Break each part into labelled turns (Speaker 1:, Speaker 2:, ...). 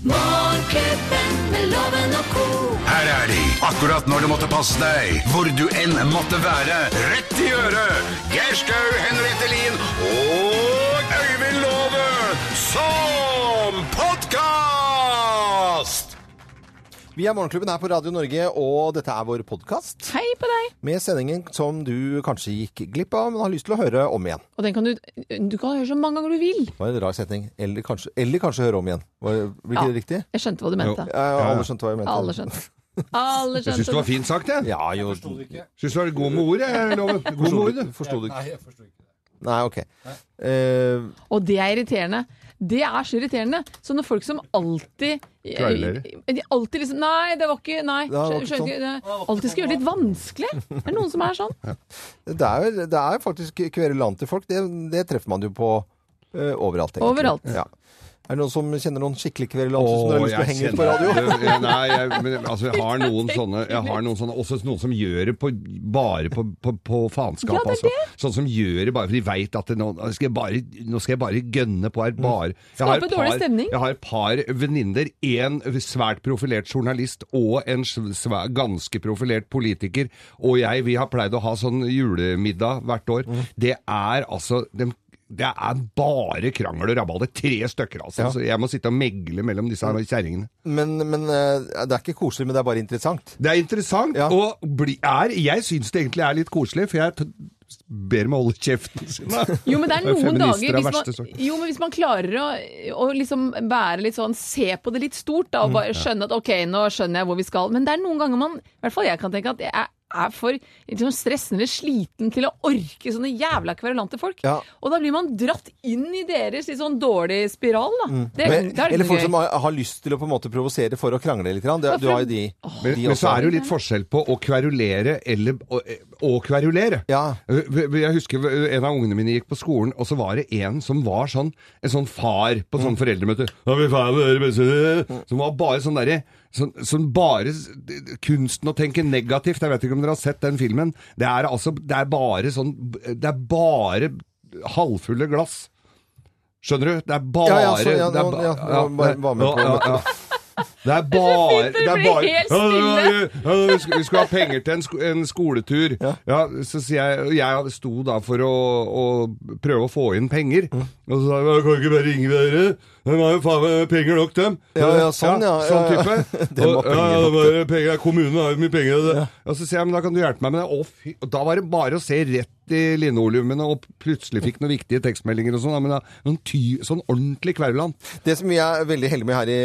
Speaker 1: Morgenklubben med loven og ko.
Speaker 2: Her er de, akkurat når du måtte passe deg, hvor du enn måtte være. Rett i øret! Geir Skau, Henriette Lien og Øyvind Låve som podkast!
Speaker 3: Vi er Morgenklubben her på Radio Norge, og dette er vår podkast
Speaker 4: Hei på deg!
Speaker 3: med sendingen som du kanskje gikk glipp av, men har lyst til å høre om igjen.
Speaker 4: Og den kan du, du kan høre så mange ganger du vil.
Speaker 3: Det var en rar setning. Eller kanskje, eller kanskje høre om igjen. Var, blir ikke
Speaker 4: Ja.
Speaker 3: det riktig?
Speaker 4: Jeg skjønte hva du mente.
Speaker 3: Ja, ja, alle skjønte hva jeg mente.
Speaker 4: Alle skjønte. Alle
Speaker 5: Jeg syns det
Speaker 4: skjønte.
Speaker 5: var fint sagt, jeg.
Speaker 3: Ja, jo.
Speaker 5: Syns du var god med ord, jeg, Loven. God med ord, du.
Speaker 3: Forsto du ikke? Nei, ok. Eh,
Speaker 4: Og det er irriterende. Det er så irriterende. Sånne folk som alltid eh,
Speaker 5: Kverulerer.
Speaker 4: De alltid liksom Nei, det var ikke Nei.
Speaker 3: var ikke
Speaker 4: skjønner ikke det- Alltid skal gjøre det litt vanskelig. Det er noen som er sånn.
Speaker 3: det, er, jo- det er jo faktisk kverulante folk. Det, det treffer man jo på eh, overalt. egentlig.
Speaker 4: Overalt.
Speaker 3: Ja. Er det noen som kjenner noen skikkelig kverulante som dere har lyst til å henge ut på radio?
Speaker 5: radio? Nei, jeg, men, altså, jeg har noen sånne, jeg har noen sånne Også noen som gjør det på, bare på, på, på faenskap.
Speaker 4: Ja, det er
Speaker 5: altså. Sånn som gjør det bare for de veit at det, nå, skal jeg bare, nå skal jeg bare gønne på her. Bare. Jeg har
Speaker 4: Skape
Speaker 5: et
Speaker 4: dårlig
Speaker 5: par-
Speaker 4: stemning.
Speaker 5: Jeg har et par venninner. En svært profilert journalist og en sv- svæ- ganske profilert politiker. Og jeg, vi har pleid å ha sånn julemiddag hvert år.
Speaker 4: Mm.
Speaker 5: Det er altså dem- det er bare krangel og rabalder. Tre stykker, altså. Så jeg må sitte og megle mellom disse her kjerringene.
Speaker 3: Men, men eh, det er ikke koselig, men det er bare interessant.
Speaker 5: Det er interessant,
Speaker 3: Ja.
Speaker 5: og bli, er, jeg syns det egentlig er litt koselig, for jeg t ber meg holde kjeften sin. da.
Speaker 4: Jo, men det er noen dager
Speaker 5: Feminister er
Speaker 4: hvis
Speaker 5: verste
Speaker 4: man,
Speaker 5: sort.
Speaker 4: jo, men hvis man klarer å, å liksom være litt sånn Se på det litt stort, da,
Speaker 3: Mm,
Speaker 4: og bare skjønne at OK, nå skjønner jeg hvor vi skal. Men det er noen ganger man, i hvert fall jeg kan tenke at jeg er, er for liksom, stressen eller sliten til å orke sånne jævla kverulante folk.
Speaker 3: Ja.
Speaker 4: Og da blir man dratt inn i deres litt sånn dårlig spiral, da. Det,
Speaker 3: Mm. Men,
Speaker 4: det er
Speaker 3: eller
Speaker 4: litt
Speaker 3: folk som
Speaker 4: gøy.
Speaker 3: har, har lyst til å på en måte provosere for å krangle litt. grann. Det, du har jo de, de
Speaker 5: Men, men så er det jo litt forskjell på å kverulere eller å, eh, å kverulere. Eh,
Speaker 3: Ja.
Speaker 5: Jeg husker en av ungene mine gikk på skolen, og så var det en som var sånn en sånn far på
Speaker 3: Mm.
Speaker 5: sånn foreldremøte. «Ja, vi faen med dere, beste». Som var bare sånn derre Sånn, sånn bare s- Kunsten å tenke negativt, jeg vet ikke om dere har sett den filmen. Det er altså Det er bare sånn Det er bare halvfulle glass. Skjønner du? Det er bare
Speaker 3: Ja, ja, så, ja,
Speaker 5: det er
Speaker 3: nå-
Speaker 5: ba-
Speaker 3: ja, nå bare- var med på møtet.
Speaker 5: det er bare
Speaker 4: fint når det blir helt stille.
Speaker 5: Ja, ja, ja, vi skulle- Vi skulle ha penger til en, sko en skoletur. Ja. så sier jeg og Jeg sto da for å, å prøve å få inn penger.
Speaker 3: Mm.
Speaker 5: Og så sa jeg «Jeg kan ikke bare ringe dere. De har jo faen meg penger nok, dem.
Speaker 3: Ja, ja, sånn, ja,
Speaker 5: sånn
Speaker 3: ja, ja.
Speaker 5: type.
Speaker 3: Dem har
Speaker 5: Og,
Speaker 3: penger
Speaker 5: ja,
Speaker 3: nok,
Speaker 5: bare penger, kommunen har jo mye penger. Det. Og så sier jeg men da kan du hjelpe meg med det. Å, fy, og da var det bare å se rett i linoleumene, og plutselig fikk noen viktige tekstmeldinger og sånn. da, Men da, noen ty, sånn ordentlig kverulant.
Speaker 3: Det som vi er veldig heldige med her i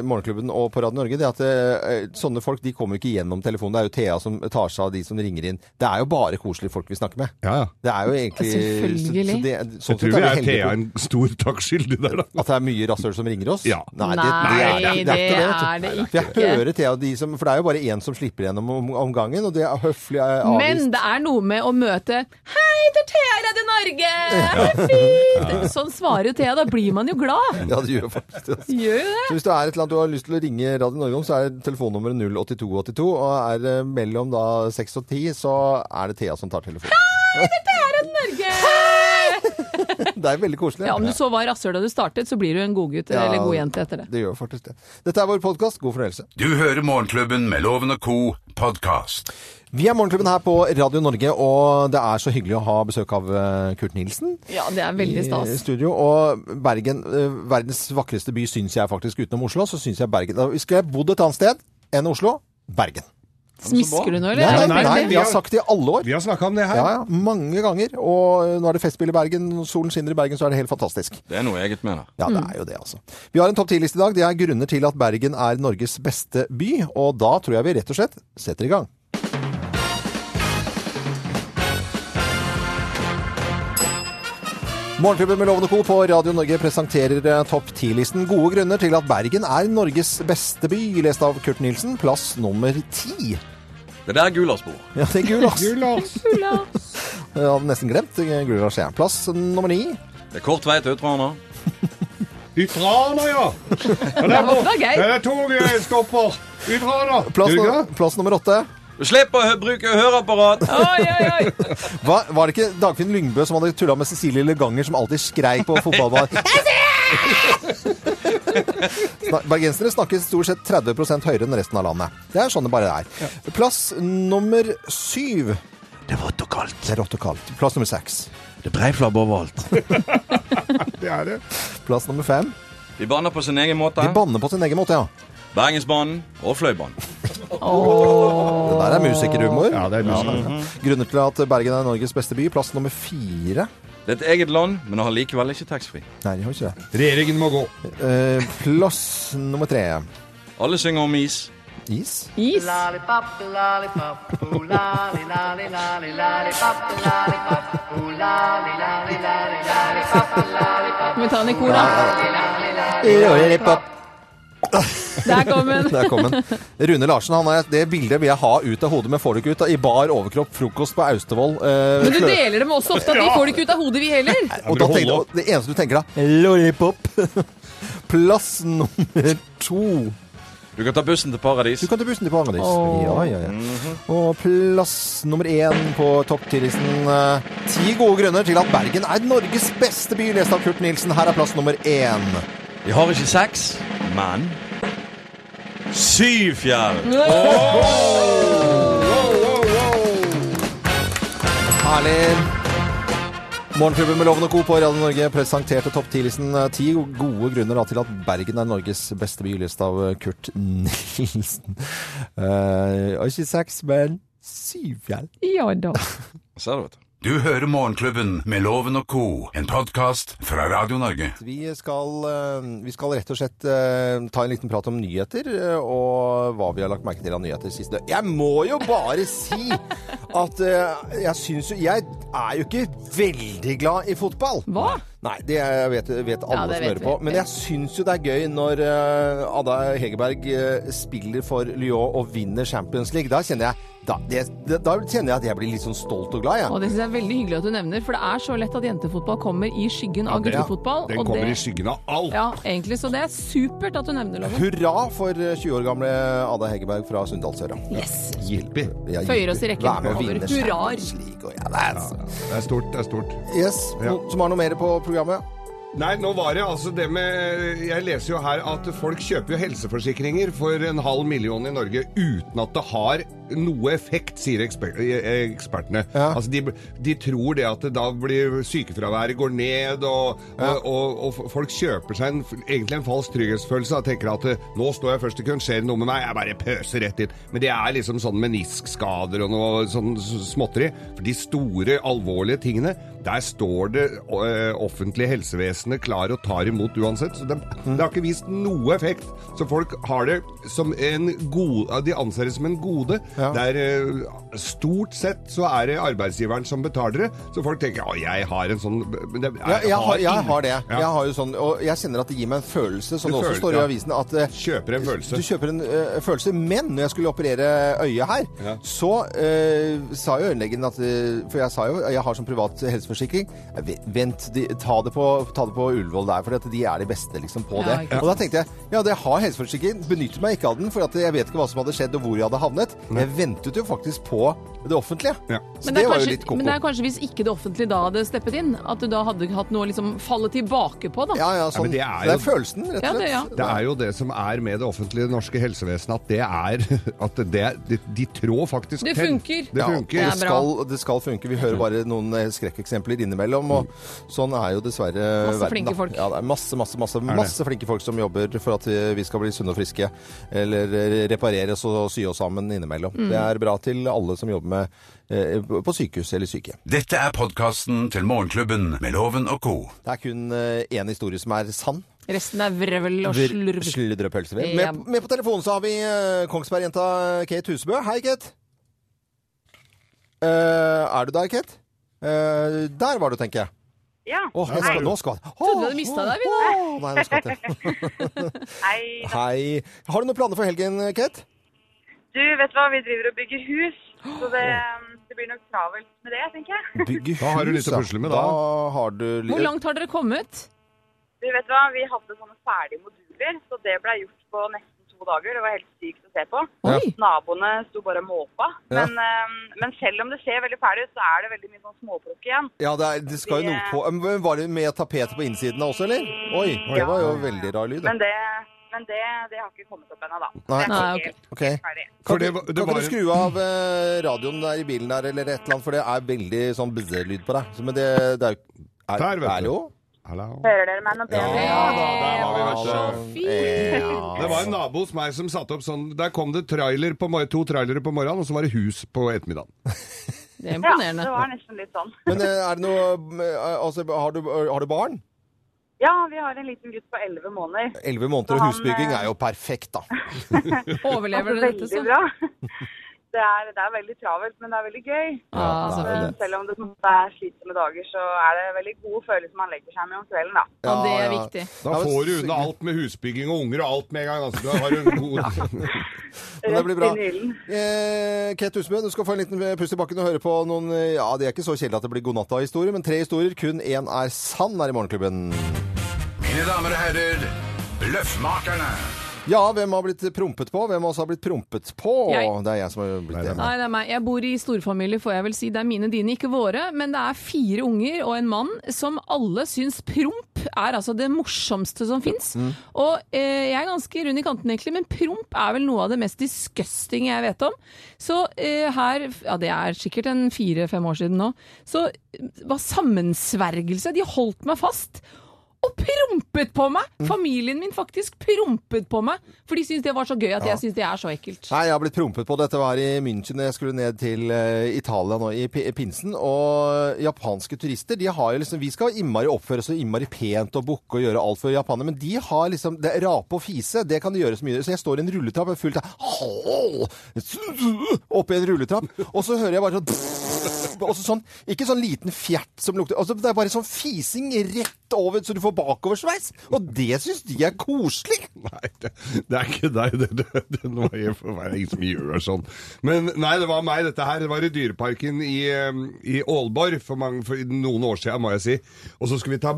Speaker 3: eh, Morgenklubben og på Radio Norge, det er at eh, sånne folk de kommer ikke gjennom telefonen. Det er jo Thea som tar seg av de som ringer inn. Det er jo bare koselige folk vi snakker med.
Speaker 5: Ja, ja.
Speaker 3: Det er jo egentlig
Speaker 4: Selvfølgelig.
Speaker 3: Så, så det, sånn sett
Speaker 5: Jeg tror vi
Speaker 3: er
Speaker 5: er
Speaker 3: vi heldige
Speaker 5: PA
Speaker 3: på
Speaker 5: en stor takk skyldig der, da.
Speaker 3: at det er mye rasshøl som ringer oss.
Speaker 5: Ja.
Speaker 3: Nei, det, det, er,
Speaker 4: Nei,
Speaker 3: det er ikke det. vet du.
Speaker 4: det
Speaker 3: For
Speaker 4: ikke.
Speaker 3: jeg hører Thea de som For det er jo bare én som slipper gjennom om, om gangen, og det er høflig eh, avvist.
Speaker 4: Men det er noe med å møte Hei, det er Thea i Radio Norge! Ha det fint! Sånn svarer jo Thea. Da blir man jo glad.
Speaker 3: Ja, det gjør faktisk det. altså.
Speaker 4: Gjør jo det.
Speaker 3: Så hvis det er et eller annet du har lyst til å ringe Radio Norge om, så er telefonnummeret 08282. Og er det mellom da 6 og 10, så er det Thea som tar telefonen.
Speaker 4: Norge!
Speaker 3: Det er veldig koselig.
Speaker 4: Ja, Om du så var rasshøl da du startet, så blir du en godgutt
Speaker 3: Ja,
Speaker 4: eller godjente etter det.
Speaker 3: Det gjør faktisk det. Dette er vår podkast. God fornøyelse.
Speaker 2: Du hører Morgenklubben med Loven og co. podkast.
Speaker 3: Vi er Morgenklubben her på Radio Norge, og det er så hyggelig å ha besøk av eh, Kurt Nilsen.
Speaker 4: Ja, det er veldig
Speaker 3: I
Speaker 4: stas.
Speaker 3: studio, og Bergen, eh, verdens vakreste by, syns jeg faktisk, utenom Oslo. Så syns jeg Bergen Da Skulle jeg bodd et annet sted enn Oslo? Bergen.
Speaker 4: Smisker du nå,
Speaker 3: Nei, nei,
Speaker 4: eller?
Speaker 3: nei,
Speaker 5: nei,
Speaker 3: vi har sagt det i alle år.
Speaker 5: Vi har snakka om det her.
Speaker 3: Ja, ja, mange ganger. Og eh, nå er det festspill i Bergen, solen skinner i Bergen, så er det helt fantastisk.
Speaker 6: Det er noe eget med det.
Speaker 3: Ja, det er jo det, altså. Vi har en topp 10-liste i dag. Det er grunner til at Bergen er Norges beste by, og da tror jeg vi rett og slett setter i gang. Morgenklubben med Lovende Co. på Radio Norge presenterer eh, topp 10-listen gode grunner til at Bergen er Norges beste by, lest av Kurt Nilsen, plass nummer 10.
Speaker 6: Det der er gulasbord.
Speaker 3: Ja, det er gul, ass. Jeg
Speaker 4: Tulla.
Speaker 3: hadde nesten glemt eh, gul asj. ja. Plass nummer 9.
Speaker 6: Det er kort vei til Utrana.
Speaker 5: Ut fra nå, ja! Ja, Der
Speaker 4: Det var gøy.
Speaker 5: Der er toget stopper. Ut fra nå.
Speaker 3: Plass,
Speaker 5: Du,
Speaker 3: nu- plass nummer 8.
Speaker 6: Du slipper å hø- bruke høreapparat.
Speaker 4: Oi, oi, oi.
Speaker 3: Hva, var det ikke Dagfinn Lyngbø som hadde tulla med Cecilie Leganger, som alltid skreik på fotballbanen? Sna- Bergensere snakker stort sett 30 høyere enn resten av landet. Det er sånn det bare er. Plass nummer syv.
Speaker 6: Det er vått og kaldt.
Speaker 3: Det er rått og kaldt. Plass nummer seks.
Speaker 6: Det er breiflabb overalt.
Speaker 5: Det er det.
Speaker 3: Plass nummer fem.
Speaker 6: De banner på sin egen måte.
Speaker 3: De banner på sin egen måte, ja.
Speaker 6: Bergensbanen og Fløibanen.
Speaker 3: Det der er musikerhumor.
Speaker 5: Ja, det er lyst.
Speaker 3: Grunner til at Bergen er Norges beste by. Plass nummer fire.
Speaker 6: Det er et eget land, men det har likevel ikke taxfree.
Speaker 3: Nei, de har ikke det.
Speaker 5: Regjeringen må gå.
Speaker 3: Eh, plass nummer tre.
Speaker 6: Alle synger om is.
Speaker 3: Is.
Speaker 4: Is.
Speaker 7: Lollipop, lollipop, ooh lolly, lolly, lolly, lollipop, lollipop, ooh lolly, lolly, lolly, lollipop, lollipop.
Speaker 4: Skal vi ta den i kor, da? Der kom den.
Speaker 3: Der kom den. Rune Larsen, han er, det bildet vil jeg ha ut av hodet, men får det ikke ut. da. I bar overkropp, frokost på Austevoll. eh,
Speaker 4: Men du
Speaker 3: Flø-
Speaker 4: deler dem også ofte, at vi får det ikke ut av hodet, vi heller.
Speaker 3: Og da tenkte, og det eneste du tenker da Lollipop. Plass nummer to.
Speaker 6: Du kan ta bussen til paradis.
Speaker 3: Du kan ta bussen til Paradis. Ja, ja, ja. Og plass nummer én på topp 10-listen. eh, Ti gode grunner til at Bergen er Norges beste by, lest av Kurt Nilsen. Her er plass nummer én.
Speaker 6: De har ikke seks, men syv fjær.
Speaker 3: Herlig. Morgenklubben med Loven og Co. på Radio Norge presenterte topp 10-listen eh, ti gode grunner da, til at Bergen er Norges beste by, lest av eh, Kurt Nilsen. Eh, og ikke seks, men syv fjell.
Speaker 4: Ja da.
Speaker 6: Ser du, vet du.
Speaker 2: Du hører Morgenklubben med Loven og Co., en podkast fra Radio Norge.
Speaker 3: Vi skal, eh, vi skal rett og slett eh, ta en liten prat om nyheter, eh, og hva vi har lagt merke til av nyheter siste døgn. Jeg må jo bare si at eh, jeg syns jo Jeg er jo ikke veldig glad i fotball.
Speaker 4: Hva?
Speaker 3: Nei, det er- vet, vet alle
Speaker 4: Ja, det
Speaker 3: som
Speaker 4: vet
Speaker 3: hører på.
Speaker 4: vi.
Speaker 3: Men jeg syns jo det er gøy når eh, Ada Hegerberg eh, spiller for Lyon og vinner Champions League. Da kjenner jeg, da, det, da kjenner jeg at jeg blir litt sånn stolt og glad, jeg.
Speaker 4: Og det synes jeg er veldig hyggelig at du nevner, for det er så lett at jentefotball kommer i skyggen av
Speaker 5: Ja,
Speaker 4: guttefotball.
Speaker 5: Den
Speaker 4: og
Speaker 5: kommer
Speaker 4: det-
Speaker 5: i skyggen av alt.
Speaker 4: Ja, egentlig, så det er supert at du nevner loven.
Speaker 3: Hurra for eh, 20 år gamle Ada Hegerberg fra Sunndalsøra.
Speaker 4: Yes.
Speaker 5: Hjelper.
Speaker 3: Jeg
Speaker 4: Føyer oss i rekken
Speaker 3: Vær med og
Speaker 4: over
Speaker 3: vinne
Speaker 4: hurraer.
Speaker 3: Champions League, og ja, det er altså.
Speaker 5: Det er stort, det er stort.
Speaker 3: Yes, noen som har noe mer på programmet?
Speaker 5: Nei, nå var det altså det med Jeg leser jo her at folk kjøper jo helseforsikringer for en halv million i Norge uten at det har noe effekt, sier eksper eh, ekspertene.
Speaker 3: Ja.
Speaker 5: Altså de, de tror det at det da blir sykefraværet går ned, og, og, og, og folk kjøper seg en, egentlig en falsk trygghetsfølelse og tenker at eh, nå står jeg først i køen, skjer det noe med meg, jeg bare pøser rett inn. Men det er liksom sånn meniskskader og noe sånn s- småtteri. For de store, alvorlige tingene, der står det eh, offentlige helsevesenet klar og tar imot uansett. Så det,
Speaker 3: Mm.
Speaker 5: det har ikke vist noe effekt. Så folk har det som en god... De anser det som en gode.
Speaker 3: Ja.
Speaker 5: Det er eh, Stort sett så er det arbeidsgiveren som betaler det. Så folk tenker ja, jeg har en sånn men det,
Speaker 3: Ja, jeg, har, jeg har det.
Speaker 5: Ja.
Speaker 3: Jeg har jo sånn, og jeg kjenner at det gir meg en følelse, som
Speaker 5: Du
Speaker 3: det også
Speaker 5: føler-
Speaker 3: står i
Speaker 5: ja.
Speaker 3: avisen, at eh,
Speaker 5: Kjøper en følelse.
Speaker 3: Du kjøper en eh, følelse, men når jeg skulle operere øyet her,
Speaker 5: Ja.
Speaker 3: så eh, sa jo øyelegen at eh, For jeg sa jo jeg har som privat helseforsikring. eh, Vent, de, ta, det på, ta det på Ullevål der, for at de er de beste liksom, på
Speaker 4: Ja,
Speaker 3: det.
Speaker 4: ikke sant.
Speaker 3: Og da tenkte jeg ja, det har helseforsikring, benytter meg ikke av den, for at jeg vet ikke hva som hadde skjedd og hvor jeg hadde havnet. Jeg ventet jo faktisk på det offentlige.
Speaker 5: Ja.
Speaker 4: Men
Speaker 3: Så det,
Speaker 4: det, er
Speaker 3: var jo
Speaker 4: kanskje,
Speaker 3: litt
Speaker 4: men det
Speaker 3: koko.
Speaker 4: er kanskje hvis ikke det offentlige da hadde steppet inn, at du da hadde hatt noe å liksom falle tilbake på, da.
Speaker 3: Ja, ja, sånn.
Speaker 5: men det
Speaker 3: det,
Speaker 5: er
Speaker 3: er
Speaker 5: jo-
Speaker 3: følelsen, rett
Speaker 4: Ja,
Speaker 3: og
Speaker 4: det-
Speaker 3: slett.
Speaker 4: ja.
Speaker 5: Det er jo det som er med det offentlige norske helsevesenet, at det er At det, de, de trår faktisk
Speaker 4: Det
Speaker 5: til.
Speaker 4: funker.
Speaker 5: Det funker.
Speaker 4: Ja,
Speaker 3: Det skal, det skal funke. Vi hører bare noen eh, skrekkeksempler innimellom, og sånn er jo dessverre
Speaker 4: Masse
Speaker 3: verden,
Speaker 4: flinke
Speaker 3: da.
Speaker 4: folk.
Speaker 3: Ja, det er masse, masse, masse, masse flinke folk som jobber for at eh, vi skal bli sunne og friske, eller eh, repareres og sy oss sammen innimellom.
Speaker 4: Mm.
Speaker 3: Det er bra til alle som jobber med eh, på sykehus eller sykehjem.
Speaker 2: Dette er podkasten til Morgenklubben med Loven og co.
Speaker 3: Det er kun eh, én historie som er sann.
Speaker 4: Resten er vrøvl og
Speaker 3: Slurv.
Speaker 4: slurv.
Speaker 3: Sludrepølsevev.
Speaker 4: Ja.
Speaker 3: Med, med på telefonen så har vi eh, Kongsberg-jenta Kate Husebø. Hei, Kate. Eh, er du der, Kate? Eh, der var du, tenker jeg.
Speaker 8: Ja.
Speaker 3: Åh, jeg skal, nå skal jeg
Speaker 4: Trodde du hadde mistet deg, vi,
Speaker 3: Nei, nå skal jeg ikke.
Speaker 8: Nei.
Speaker 3: Hei. Har du noen planer for helgen, Kate?
Speaker 8: Du, vet du hva? Vi driver og bygger hus, så det, det blir nok travelt med det, tenker jeg.
Speaker 3: Bygge hus,
Speaker 5: Da har du litt å
Speaker 3: ja.
Speaker 5: pusle med,
Speaker 3: da.
Speaker 5: da.
Speaker 3: har du li-
Speaker 4: Hvor langt har dere kommet?
Speaker 8: Du, vet du hva? Vi hadde sånne ferdige moduler, så det ble gjort på nesten to dager. Det var helt sykt å se på.
Speaker 3: Ja.
Speaker 4: Oi!
Speaker 8: Naboene sto bare og måpa.
Speaker 3: Ja.
Speaker 8: Men, eh, men selv om det ser veldig ferdig ut, så er det veldig mye sånn småplukk igjen.
Speaker 3: Ja, det, er, det skal jo noe på Men Var det med tapetet på innsiden også, eller? Oi, det var jo veldig rar lyd. da.
Speaker 8: Men det, men det, det har ikke kommet opp ennå, da.
Speaker 3: Nei.
Speaker 8: Det er
Speaker 4: Nei,
Speaker 8: ikke helt
Speaker 3: Ok. Kan,
Speaker 8: ferdig.
Speaker 5: For det
Speaker 3: ikke-
Speaker 5: var- det
Speaker 3: kan ikke
Speaker 5: var
Speaker 3: du
Speaker 5: en-
Speaker 3: skru av eh, radioen der i bilen der, eller et eller annet, for det er veldig sånn bzz-lyd på deg. Så, men det, det er jo er-
Speaker 5: Der, vet du.
Speaker 3: er det jo
Speaker 5: Hallo.
Speaker 8: Hører dere meg nå bedre?
Speaker 5: da, der var vi, vet du.
Speaker 3: Eh,
Speaker 5: Det var en nabo hos meg som satte opp sånn Der kom det trailer på, mor- to trailere på morgenen, og så var det hus på ettermiddagen.
Speaker 4: Det er
Speaker 8: Ja, det
Speaker 4: imponerende.
Speaker 8: var nesten litt sånn.
Speaker 3: Men eh, er det noe eh, Altså, har du, har du barn?
Speaker 8: Ja, vi har en liten gutt på 11 måneder.
Speaker 3: Elleve måneder og
Speaker 8: Han,
Speaker 3: husbygging
Speaker 8: eh,
Speaker 3: er jo perfekt, da.
Speaker 4: Overlever dere dette,
Speaker 8: Altså,
Speaker 4: sånn?
Speaker 8: Veldig
Speaker 4: så?
Speaker 8: bra. Det er, det er veldig travelt, men det er veldig gøy.
Speaker 4: Ja, så
Speaker 3: det er
Speaker 4: fint.
Speaker 3: det.
Speaker 8: Selv om det på en måte er slitsomme dager, så er det veldig gode følelser man legger seg med om kvelden, da.
Speaker 4: Ja, det
Speaker 3: Ja,
Speaker 4: er
Speaker 3: ja.
Speaker 4: viktig.
Speaker 5: Da
Speaker 3: Ja, men
Speaker 5: får du unna
Speaker 3: sikkert.
Speaker 5: alt med husbygging og unger og alt med en gang. Altså, da har du en god...
Speaker 3: Men det blir bra.
Speaker 8: Rett inn i ilden.
Speaker 3: Eh, Kate Husbø, du skal få en liten eh, pust i bakken og høre på noen eh, Ja, det er ikke så kjedelig at det blir godnatta-historier, men tre historier. Kun én er sann her i Morgenklubben.
Speaker 2: Mine damer og herrer, Bløffmakerne.
Speaker 3: Ja, hvem har blitt prompet på? Hvem av oss har blitt prompet på?
Speaker 4: Jeg.
Speaker 3: Det er jeg som har blitt det.
Speaker 4: Nei, det er meg. Jeg bor i storfamilie, får jeg vel si. Det er mine, dine, ikke våre. Men det er fire unger og en mann som alle syns promp er altså det morsomste som fins. Og eh, jeg er ganske rund i kanten egentlig, men promp er vel noe av det mest disgusting jeg vet om. Så eh, her, ja det er sikkert en fire-fem år siden nå, så eh, var sammensvergelse. De holdt meg fast. Og prompet på meg! Familien min faktisk prompet på meg. For de syns det var så gøy at jeg syns det er så ekkelt.
Speaker 3: Nei, jeg har blitt prompet på. Dette var i München. Jeg skulle ned til eh, Italia nå i pi- pinsen. Og japanske turister, de har jo liksom Vi skal innmari oppføre oss og innmari pent og bukke og gjøre alt for japanere, men de har liksom det, er Rape og fise, det kan de gjøre så mye. Så jeg står i en rulletrapp og er fullt av Oppi en rulletrapp, og så hører jeg bare sånn og så sånn, Ikke sånn liten fjert som lukter altså, Det er bare sånn fising rett over, så du får bakoversveis. Og det syns de er koselig!
Speaker 5: Nei, det, det er ikke deg. Det, det, det, nå er jeg for meg, det er ingen som gjør sånn. Men nei, det var meg, dette her. Det var i Dyreparken i, eh, i Aalborg for, mange, for noen år siden, må jeg si. Og så skulle vi ta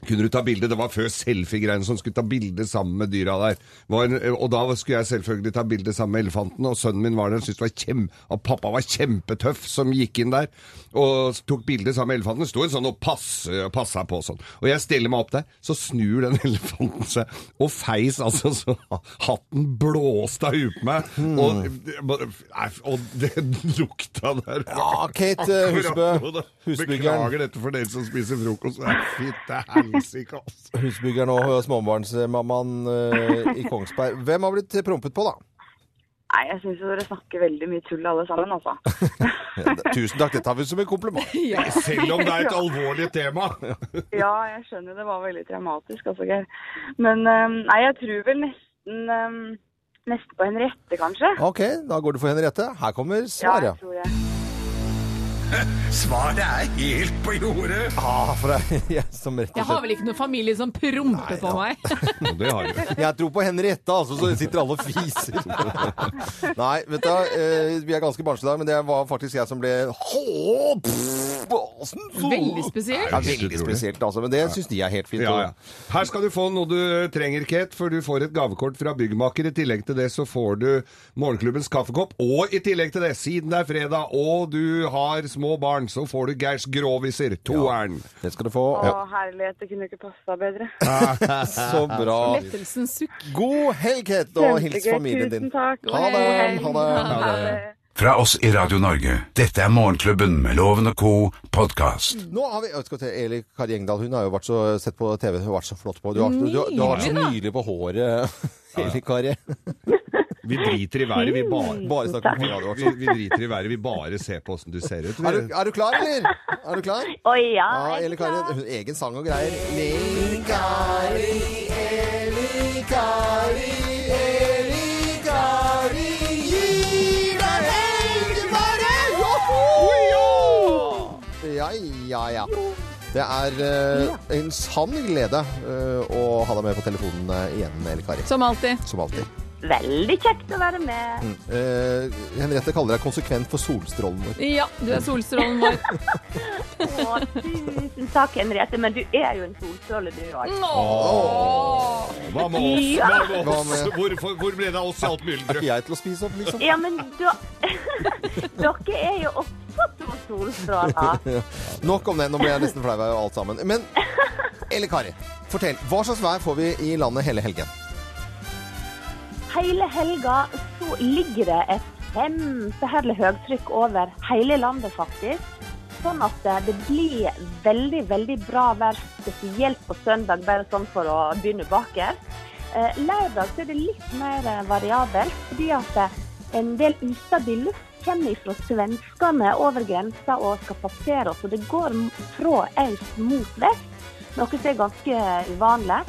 Speaker 5: kunne du ta bilde? Det var før selfie-greiene som skulle ta bilde sammen med dyra der. Var, og da skulle jeg selvfølgelig ta bilde sammen med elefanten, og sønnen min var der og syntes det var kjem... Og pappa var kjempetøff som gikk inn der og tok bilde sammen med elefanten. Det Sto en sånn og passe- passa på sånn. Og jeg stiller meg opp der, så snur den elefanten seg og feis altså så hatten blåste av huet på meg. Og, nei, og det lukta der.
Speaker 3: Ja, Kate eh, Husbø, husbyggeren.
Speaker 5: Beklager dette for dere som spiser frokost. men Fytte helsike, altså.
Speaker 3: Husbyggeren og småbarnsmammaen eh, i Kongsberg. Hvem har blitt prompet på, da?
Speaker 8: Nei, jeg syns dere snakker veldig mye tull alle sammen, altså.
Speaker 3: Tusen takk, det tar vi som en kompliment.
Speaker 5: Selv om det er et alvorlig tema.
Speaker 8: Ja, jeg skjønner det var veldig traumatisk, altså, Geir. Men ehm, nei, jeg tror vel nesten ehm, Nesten på Henriette, kanskje.
Speaker 3: Ok, da går du for Henriette. Her kommer
Speaker 8: Ja,
Speaker 3: svaret.
Speaker 8: jeg tror jeg.
Speaker 2: Svaret er helt på jordet.
Speaker 3: Ah, for det er jeg som rett
Speaker 4: Jeg
Speaker 3: og
Speaker 4: har
Speaker 3: slett
Speaker 4: vel ikke noen familie som promper på meg.
Speaker 5: Det har du.
Speaker 3: Jeg tror på Henriette, altså, så sitter alle og fiser. Nei, vet du, hva, eh, vi er ganske barnslige i dag, men det var faktisk jeg som ble Hå, pff, basen, så-
Speaker 4: Veldig spesielt.
Speaker 3: Ja, veldig spesielt, altså. Men det syns de er helt fint.
Speaker 5: Ja,
Speaker 3: og-
Speaker 5: ja. Her skal du få noe du trenger, Kate, for du får et gavekort fra byggmaker. I tillegg til det så får du morgenklubbens kaffekopp, og i tillegg til det, siden det er fredag og du har små barn, så får du Geirs Gråviser, toeren.
Speaker 3: Det skal du få.
Speaker 8: Å, herlighet, det kunne ikke passa bedre.
Speaker 3: Så bra.
Speaker 4: Lettelsens sukk.
Speaker 3: God helg, Kate, og hils
Speaker 8: Kjempegøy,
Speaker 3: familien din.
Speaker 8: Tusen takk.
Speaker 3: Ha det,
Speaker 8: God helg.
Speaker 3: ha det, ha
Speaker 8: Ha
Speaker 3: det.
Speaker 8: det.
Speaker 2: Fra oss i Radio Norge. Dette er Morgenklubben med Loven og co. podkast.
Speaker 3: Nå har vi, jeg skal til Eli Kari Engdahl, hun har jo vært så, sett på TV, hun har vært så flott på. Du har, du, du, du har vært så nydelig på håret, Eli Kari.
Speaker 5: Vi driter i været, vi bare
Speaker 3: Bare snakker om radio.
Speaker 5: vi, vi driter i været, vi bare ser på åssen du ser ut.
Speaker 3: Er du, er du klar, eller? Er du klar?
Speaker 9: Å ja,
Speaker 3: Ja,
Speaker 9: jeg
Speaker 3: Eli Kari, hun, egen sang og greier. Eli Kari, Eli Kari, Eli Kari, gi meg helgevare! Joho! Ja, ja, ja. Det er eh, en sann glede eh, å ha deg med på telefonen eh, igjen, Eli Kari.
Speaker 4: Som alltid.
Speaker 3: Som alltid.
Speaker 9: Veldig kjekt å være med.
Speaker 3: Eh, Henriette kaller deg konsekvent for solstrålen vår.
Speaker 4: Ja, du er solstrålen vår.
Speaker 9: Å, tusen takk, Henriette, men du er jo en solstråle, du òg.
Speaker 4: Åh.
Speaker 5: Hva med oss? Hva med
Speaker 3: Hva
Speaker 5: oss?
Speaker 3: med-
Speaker 5: Hvorfor, hvor ble det av oss i alt
Speaker 3: Er
Speaker 5: mylderet?
Speaker 3: ikke jeg til å spise opp, liksom?
Speaker 9: Ja, men da Dere er jo opptatt av solstråler.
Speaker 3: Nok om det. Nå ble jeg nesten flau av alt sammen. Men Eller Kari, fortell. Hva slags vær får vi i landet hele helgen?
Speaker 9: Hele helga så ligger det et kjempeherlig høytrykk over hele landet, faktisk. Sånn at eh, det blir veldig, veldig bra vær, spesielt på søndag, bare sånn for å begynne bakerst. Eh, Lørdag så er det litt mer eh, variabelt, fordi at eh, en del ustabil luft kommer fra svenskene over grensa og skal passere oss, og det går m- fra øst mot vest, noe som er ganske uvanlig.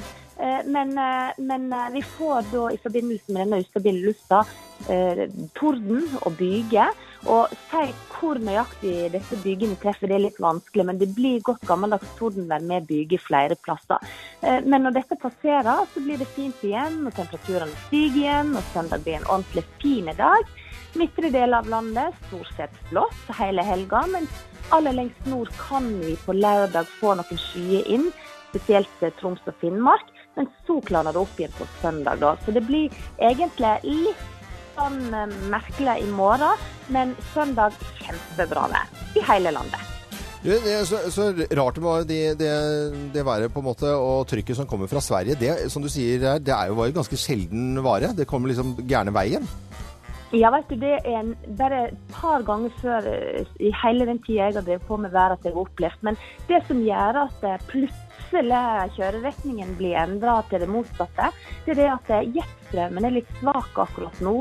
Speaker 9: Eh, Men, eh, men eh, vi får da i forbindelse med denne ustabile lufta eh, torden og byger. Og si hvor nøyaktig disse bygene treffer, det er litt vanskelig. Men det blir godt gammeldags tordenvær med byger flere plasser. Eh, Men når dette passerer, så blir det fint igjen, og temperaturene stiger igjen. Og søndag blir en ordentlig fin dag. Midtre del av landet stort sett blått hele helga, men aller lengst nord kan vi på lørdag få noen skyer inn, spesielt eh, Troms og Finnmark. Men så klarner det opp igjen på søndag, da. Så det blir egentlig litt sånn eh, merkelig i morgen, men søndag kjempebra vær i hele landet.
Speaker 3: Du, det er så, så rart det var det, det, det været på en måte, og trykket som kommer fra Sverige. Det, som du sier, her, det er jo var jo ganske sjelden vare. Det kommer liksom gærne veien.
Speaker 9: Ja, vet du, det er en, bare et par ganger før eh, i hele den tida jeg har drevet på med været at jeg har opplevd. Men det som gjør at eh, plutselig kjøreretningen blir endra til det motsatte, det er det at eh, jetstrømmen er litt svak akkurat nå.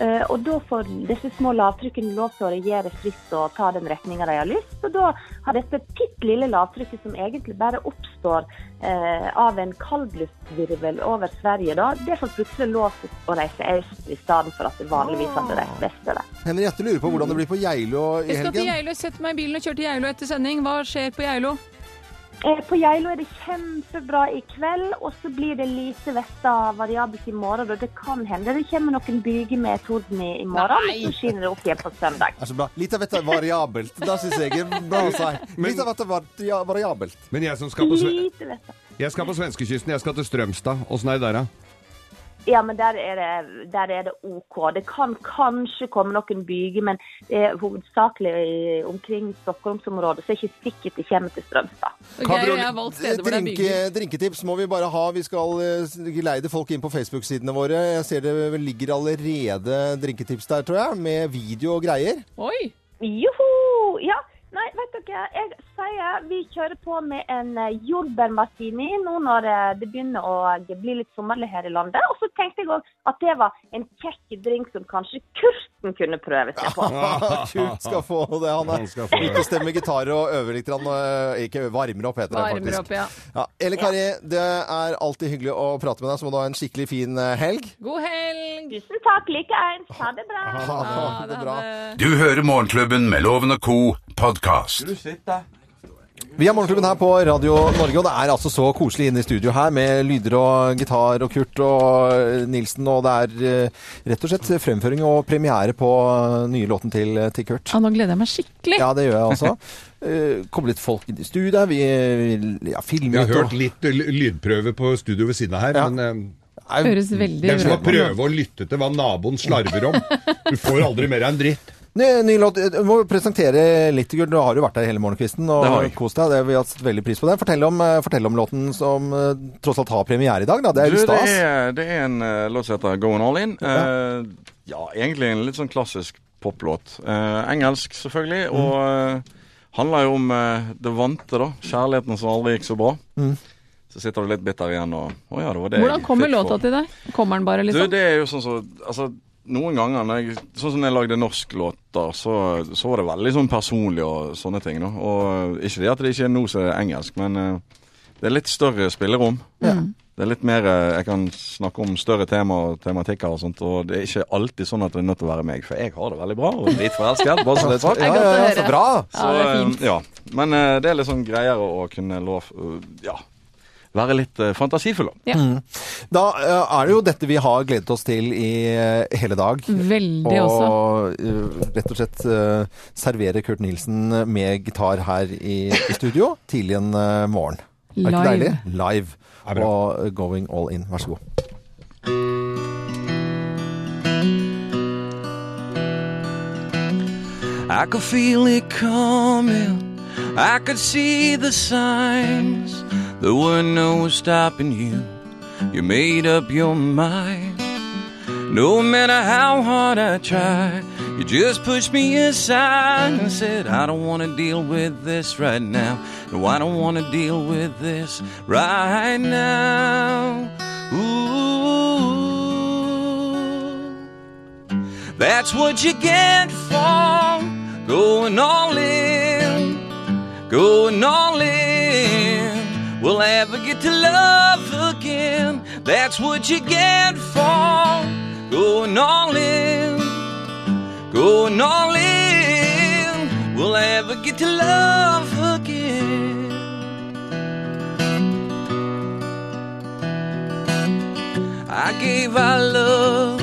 Speaker 9: Eh, Og da får disse små lavtrykkene lov til å regjere fritt og ta den retninga de har lyst. Og da har dette bitte lille lavtrykket som egentlig bare oppstår eh, av en kaldluftvirvel over Sverige, da, det får plutselig lov til å reise øst i stedet for at det vanligvis hadde
Speaker 5: Ah.
Speaker 9: reist vestover.
Speaker 3: Henriette lurer på hvordan det blir på Geilo i
Speaker 4: Jeg skal til
Speaker 3: helgen.
Speaker 4: Geilo, sette meg i bilen og kjøre til Geilo etter sending. Hva skjer på Geilo?
Speaker 9: Eh, På Geilo er det kjempebra i kveld, og så blir det lite vesta variabelt i morgen. Og det kan hende det kommer noen byger med torden i i morgen, men så skinner det opp igjen på søndag.
Speaker 3: Det er så bra. Litt av dette er variabelt. Da syns jeg er bra å si. Litt av dette er varia- variabelt.
Speaker 5: Men jeg som skal på, sve
Speaker 9: Lite vesta.
Speaker 5: jeg skal på svenskekysten. Jeg skal til Strømstad. Åssen er det der, da?
Speaker 9: Ja, men der er det, der er det OK. Det kan kanskje komme noen byger, men det er hovedsakelig i- omkring Stockholmsområdet, så er det ikke sikkert det kommer til Strømstad.
Speaker 4: Ok,
Speaker 3: Kan-
Speaker 4: jeg har valgt steder hvor det er
Speaker 3: Drinke,
Speaker 4: bygger.
Speaker 3: drinketips må vi bare ha. Vi skal eh, geleide folk inn på Facebook-sidene våre. Jeg ser det vel ligger allerede drinketips der, tror jeg, med video og greier.
Speaker 4: Oi!
Speaker 9: Joho! Ja. Nei, vet dere, jeg sier vi kjører på med en eh, jordbærmartini nå når eh, det begynner å bli litt sommerlig her i landet. Og så tenkte jeg òg at det var en kjekk drink som kanskje Kurten kunne prøve seg på.
Speaker 3: Kult skal få det. Han
Speaker 5: Ah. Han
Speaker 3: er
Speaker 5: skal få det.
Speaker 3: ute og stemmer gitar og øver litt. grann, eh, Ikke øver, varmer opp, heter det
Speaker 4: Varmer
Speaker 3: faktisk.
Speaker 4: opp, ja.
Speaker 3: Ja, Eller Kari, det er alltid hyggelig å prate med deg, så må du ha en skikkelig fin eh, helg.
Speaker 4: God helg!
Speaker 9: Tusen takk likeens. Ha det bra.
Speaker 3: Ha
Speaker 4: Ha
Speaker 3: det bra.
Speaker 2: Du hører Morgenklubben med Loven og Co. podkast.
Speaker 6: Du sitter.
Speaker 3: Vi er Morgenklubben her på Radio Norge, og det er altså så koselig inne i studio her med lyder og gitar og Kurt og eh, Nilsen, og det er eh, rett og slett fremføring og premiere på eh, nye låten til, eh, til Kurt.
Speaker 4: Ja, nå gleder jeg meg skikkelig.
Speaker 3: Ja, det gjør jeg også. Eh, Kommer litt folk inn i studio her, vi eh, ja,
Speaker 5: Vi
Speaker 3: filmer
Speaker 5: har
Speaker 3: litt.
Speaker 5: hørt
Speaker 3: og-
Speaker 5: litt l- lydprøve på studio ved siden av her,
Speaker 3: Ja.
Speaker 5: men eh,
Speaker 3: Au.
Speaker 4: Høres veldig
Speaker 5: det er som
Speaker 4: bra
Speaker 5: å
Speaker 4: ut.
Speaker 5: prøve å lytte til hva naboen slarver om. Du får aldri mer enn dritt.
Speaker 3: Ny, ny låt. Eh, Du må presentere litt, Gud. Du har jo vært der hele morgenkvisten
Speaker 6: Det har jeg.
Speaker 3: og kost deg. Det, vi har satt veldig pris på det. Fortell om, eh, fortell om låten som eh, tross alt har premiere i dag. Da. Det er
Speaker 6: Du,
Speaker 3: jo
Speaker 6: det,
Speaker 3: stas.
Speaker 6: er, det er en eh, låt som heter Going All In. Eh, ja, egentlig en litt sånn klassisk poplåt. Eh, engelsk, selvfølgelig.
Speaker 3: Mm.
Speaker 6: Og eh, handler jo om eh, det vante, da. Kjærligheten som aldri gikk så bra.
Speaker 3: Mm.
Speaker 6: Så sitter du litt bitter igjen og Å ja, det var det
Speaker 4: Hvordan
Speaker 6: jeg
Speaker 4: kommer
Speaker 6: fikk
Speaker 4: låta
Speaker 6: for-
Speaker 4: til deg? Kommer den bare, liksom?
Speaker 6: Du, det er jo sånn som Altså, noen ganger når jeg, Sånn som når jeg lagde norsklåter, så, så var det veldig sånn personlig og sånne ting. Da. Og eh, ikke det at det ikke er noe som er engelsk, men eh, det er litt større spillerom.
Speaker 3: Mm.
Speaker 6: Det er litt mer eh, Jeg kan snakke om større tema og tematikker og sånt, og det er ikke alltid sånn at det er nødt til å være meg, for jeg har det veldig bra og er dritforelsket. Bare så det er sagt.
Speaker 3: Ja,
Speaker 4: godt å
Speaker 3: ja, ja,
Speaker 4: høre.
Speaker 3: så bra!
Speaker 6: Så,
Speaker 4: Ja, det er
Speaker 6: eh,
Speaker 4: fint.
Speaker 6: ja. Men eh, det er litt sånn greier å å kunne lov eh, Ja. Være litt eh, fantasifull, da.
Speaker 3: Da eh, er det jo dette vi har gledet oss til i eh, hele dag.
Speaker 4: Veldig Mm, også.
Speaker 3: Og eh, rett og slett eh, servere Kurt Nilsen med gitar her i, i studio tidlig en eh, morgen. Er det ikke
Speaker 4: Live.
Speaker 3: deilig? Live.
Speaker 5: er bra.
Speaker 3: Og eh, going all in. Vær så god.
Speaker 10: I could feel it coming. I could see the signs. There were no stopping you. You made up your mind. No matter how hard I try, you just pushed me aside and said, I don't want to deal with this right now. No, I don't want to deal with this right now. Ooh. That's what you get for going all in, going all in. Will I ever get to love again? That's what you get for going all in, going all in. Will I ever get to love again? I gave our love,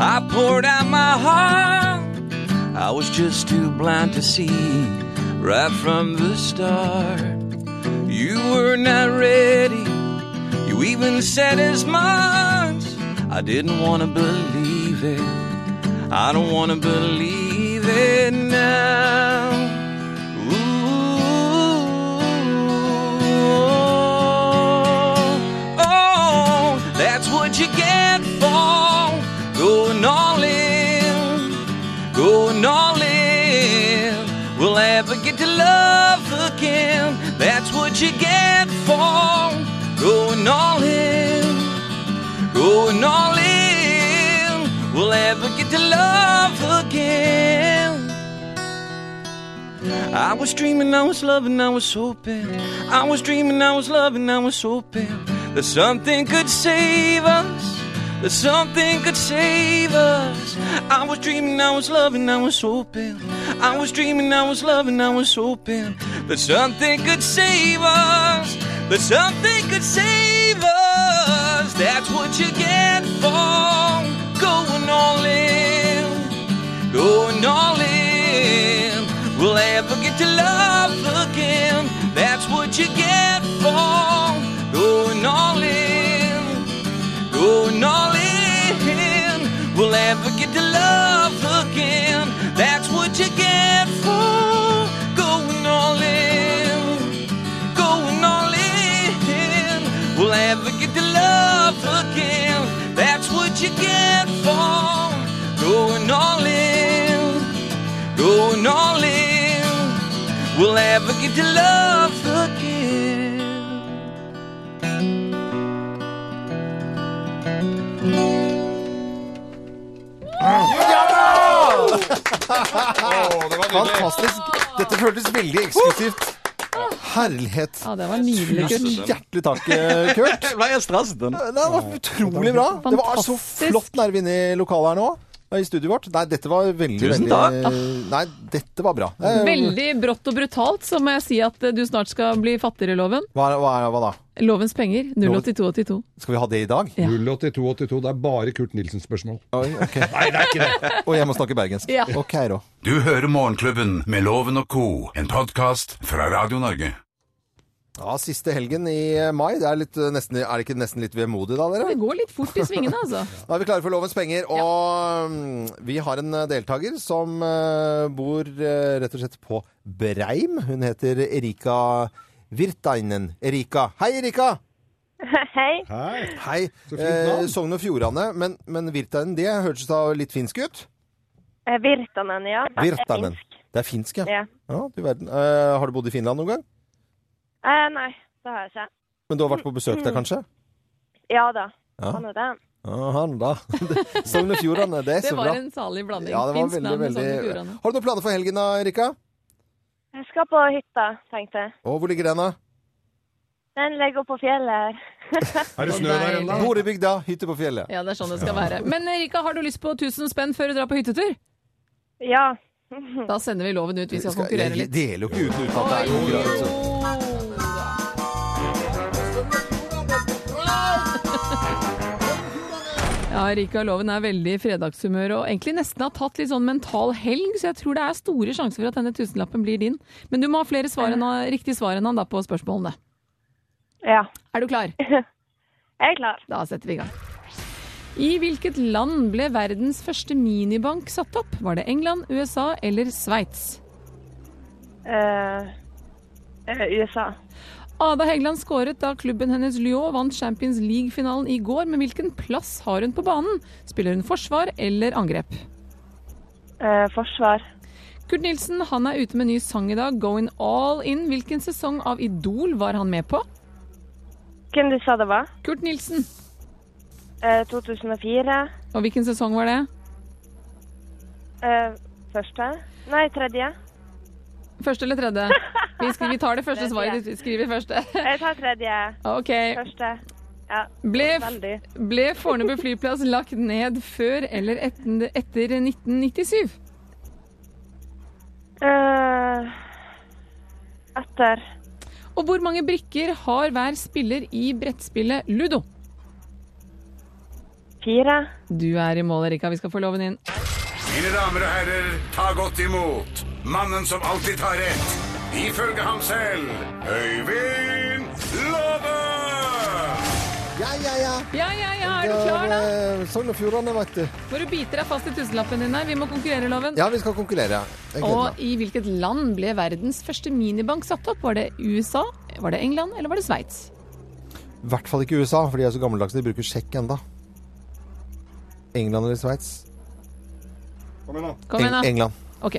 Speaker 10: I poured out my heart. I was just too blind to see right from the start. You were not ready, you even said as much. I didn't want to believe it, I don't want to believe it now. Ooh, oh, that's what you get for going all in, going all in. Will I ever get to love again? That's what you get for going all in, going all in. Will I ever get to love again? I was dreaming, I was loving, I was hoping. I was dreaming, I was loving, I was hoping that something could save us. That something could save us. I was dreaming, I was loving, I was hoping. I was dreaming, I was loving, I was hoping that something could save us. That something could save us. That's what you get for going all in going all in. Will I ever get to love again? That's what you get for going all in, going all in. Will I ever get to love again? That's what you get for going all in, going all in. Will I ever get to love again? That's what you get for going all in going all in. We'll ever get to love again.
Speaker 3: Fantastisk. Dette føltes veldig eksklusivt. Herlighet.
Speaker 4: Ja, det var nydelig, Kurt.
Speaker 3: Hjertelig takk, eh, Kurt.
Speaker 10: Jeg ble helt stresset. den.
Speaker 3: Det var utrolig bra. Det var så
Speaker 4: Fantastisk.
Speaker 3: flott nerve inne i lokalet her nå. I studioet vårt. Nei, dette var veldig,
Speaker 10: Tusen
Speaker 3: veldig eh, Nei, dette var bra. Eh,
Speaker 4: Veldig brått og brutalt, så må jeg si at eh, du snart skal bli fattigere, Loven.
Speaker 3: Hva, er- hva, er- hva da?
Speaker 4: Lovens penger, 08282.
Speaker 3: Skal vi ha det i dag?
Speaker 4: Ja.
Speaker 5: 08282, det er bare Kurt Nilsen-spørsmål.
Speaker 3: Oi, ok.
Speaker 5: Nei, det er ikke det.
Speaker 3: Og jeg må snakke bergensk.
Speaker 4: Ja.
Speaker 3: Ok, da.
Speaker 2: Du hører Morgenklubben med Loven og Co., en podkast fra Radio Norge.
Speaker 3: Ja, siste helgen i mai. Det er, litt, eh, nesten, er det ikke nesten litt vemodig da, dere?
Speaker 4: Det går litt fort i svingene, altså.
Speaker 3: Da er vi klare for lovens penger, og mm, vi har en eh, deltaker som eh, bor eh, rett og slett på Breim. Hun heter Erika Virtainen. Erika. Hei, Erika!
Speaker 9: Hei.
Speaker 5: Hei.
Speaker 3: Hei.
Speaker 5: Så fint navn.
Speaker 3: Eh, Sogn og Fjordane, men, men Virtainen, det hørtes da litt finsk ut?
Speaker 9: Eh, Virtanen, ja.
Speaker 3: Virtanen. Det er finsk, ja.
Speaker 9: Ja.
Speaker 3: ja du verden. Eh, har du bodd i Finland noen gang?
Speaker 9: Eh, nei, det har jeg ikke.
Speaker 3: Men du har vært på besøk
Speaker 4: Mm.
Speaker 3: der, kanskje?
Speaker 9: Ja da.
Speaker 3: Ja.
Speaker 9: Han er det.
Speaker 3: Ja, han da. Sogn og Fjordane, det er
Speaker 4: Det
Speaker 3: så
Speaker 4: var
Speaker 3: bra.
Speaker 4: en salig blanding. sånn
Speaker 3: Ja, det var
Speaker 4: Finsk
Speaker 3: veldig,
Speaker 4: navn, Sogn
Speaker 3: veldig...
Speaker 4: og Fjordane.
Speaker 3: Har du noen planer for helgen da, Erika?
Speaker 9: Jeg skal på hytta, tenkte jeg.
Speaker 3: Og hvor ligger den, da?
Speaker 9: Den ligger på fjellet.
Speaker 5: Er det snø der ennå?
Speaker 3: Hvor i bygda? Hytte på fjellet.
Speaker 4: Ja, det er sånn det skal være. Men Erika, har du lyst på 1000 spenn før du drar på hyttetur?
Speaker 9: Ja.
Speaker 4: Da sender vi loven ut hvis vi skal
Speaker 3: Skal-
Speaker 4: konkurrere
Speaker 3: jeg
Speaker 4: litt.
Speaker 3: deler jo ikke ut uten at det er konkurranse.
Speaker 4: Ja, Erika Loven er veldig i fredagshumør og egentlig nesten har tatt litt sånn mental helg, så jeg tror det er store sjanser for at denne tusenlappen blir din. Men du må ha flere svar enn, riktige svar enn han da på spørsmålene.
Speaker 9: Ja.
Speaker 4: Er du klar?
Speaker 9: Jeg er klar.
Speaker 4: Da setter vi i gang. I hvilket land ble verdens første minibank satt opp? Var det England, USA eller Sveits?
Speaker 8: Eh, eh, USA.
Speaker 4: Ada Hegeland skåret da klubben hennes Lyon vant Champions League-finalen i går, men hvilken plass har hun på banen? Spiller hun forsvar eller angrep?
Speaker 8: Eh, forsvar.
Speaker 4: Kurt Nilsen han er ute med ny sang i dag, 'Going All In'. Hvilken sesong av Idol var han med på?
Speaker 8: Hvem du sa det var?
Speaker 4: Kurt Nilsen.
Speaker 8: Eh, 2004.
Speaker 4: Og hvilken sesong var det?
Speaker 8: Eh, første? Nei, tredje.
Speaker 4: Første eller tredje? Vi, skri- vi tar det første svaret. Vi skriver første.
Speaker 8: Jeg tar tredje.
Speaker 4: OK.
Speaker 8: Første. Ja,
Speaker 4: Ble,
Speaker 8: veldig.
Speaker 4: ble Fornebu flyplass lagt ned før eller etter, etter 1997?
Speaker 8: Eh, etter
Speaker 4: Og hvor mange brikker har hver spiller i brettspillet Ludo?
Speaker 8: fire.
Speaker 4: Du er i mål, Erika. Vi skal få loven inn.
Speaker 2: Mine damer og herrer, ta godt imot mannen som alltid tar rett, ifølge ham selv, Øyvind Låve!
Speaker 3: Ja, ja, ja.
Speaker 4: Ja, ja, ja. Er du klar, da?
Speaker 3: Det er, eh, Sogn og Fjordane, vet du.
Speaker 4: Hvor du biter deg fast i tusenlappen din her. Vi må konkurrere, loven.
Speaker 3: Ja, vi skal konkurrere. Jeg gleder
Speaker 4: Og
Speaker 3: meg.
Speaker 4: i hvilket land ble verdens første minibank satt opp? Var det USA, var det England eller var det Sveits?
Speaker 3: I hvert fall ikke USA, for de er så gammeldags de bruker sjekk enda. England eller Sveits?
Speaker 4: Kom igjen,
Speaker 3: Eng-
Speaker 4: da.
Speaker 3: England.
Speaker 4: Ok.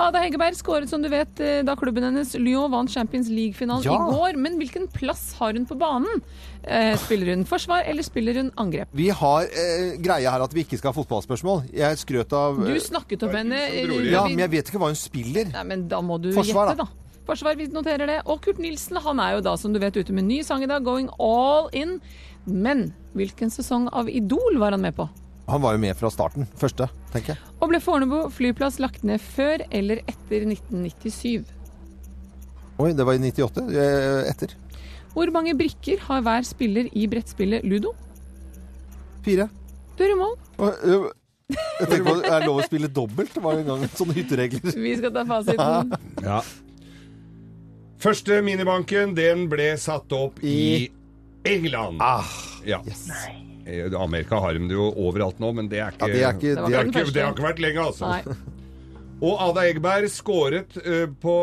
Speaker 4: Ada Hegerberg skåret, som du vet, eh, da klubben hennes Lyon vant Champions League-finalen
Speaker 3: Ja.
Speaker 4: i går. Men hvilken plass har hun på banen? Eh, Spiller hun forsvar, eller spiller hun angrep?
Speaker 3: Vi har eh, greia her at vi ikke skal ha fotballspørsmål. Jeg skrøt av
Speaker 4: Du
Speaker 3: eh,
Speaker 4: snakket opp henne. eh,
Speaker 3: Ja, men jeg vet ikke hva hun spiller.
Speaker 4: Nei, men da må du
Speaker 3: Forsvar,
Speaker 4: gjette, da. Forsvar, vi noterer det. Og Kurt Nilsen han er jo da, som du vet, ute med ny sang i dag, 'Going All In'. Men hvilken sesong av Idol var han med på?
Speaker 3: Han var jo med fra starten. Første, tenker jeg.
Speaker 4: Og ble Fornebu flyplass lagt ned før eller etter 1997?
Speaker 3: Oi, det var i 98. Eh, etter.
Speaker 4: Hvor mange brikker har hver spiller i brettspillet Ludo?
Speaker 3: Fire.
Speaker 4: Du er i mål.
Speaker 3: Og, ø, jeg tenker på, Er det lov å spille dobbelt? Det var jo en gang sånne hytteregler.
Speaker 4: Vi skal ta fasiten.
Speaker 5: Ja. Første minibanken, den ble satt opp i, England. ja.
Speaker 3: Ah, Yes.
Speaker 5: Eh, Amerika har dem jo overalt nå, men det er
Speaker 3: Ja,
Speaker 5: ikke,
Speaker 3: det er ikke
Speaker 4: Det var
Speaker 3: det
Speaker 5: det
Speaker 3: er,
Speaker 5: er ikke, det har ikke vært lenge, altså.
Speaker 4: Nei.
Speaker 5: Og Ada Egeberg skåret eh, på,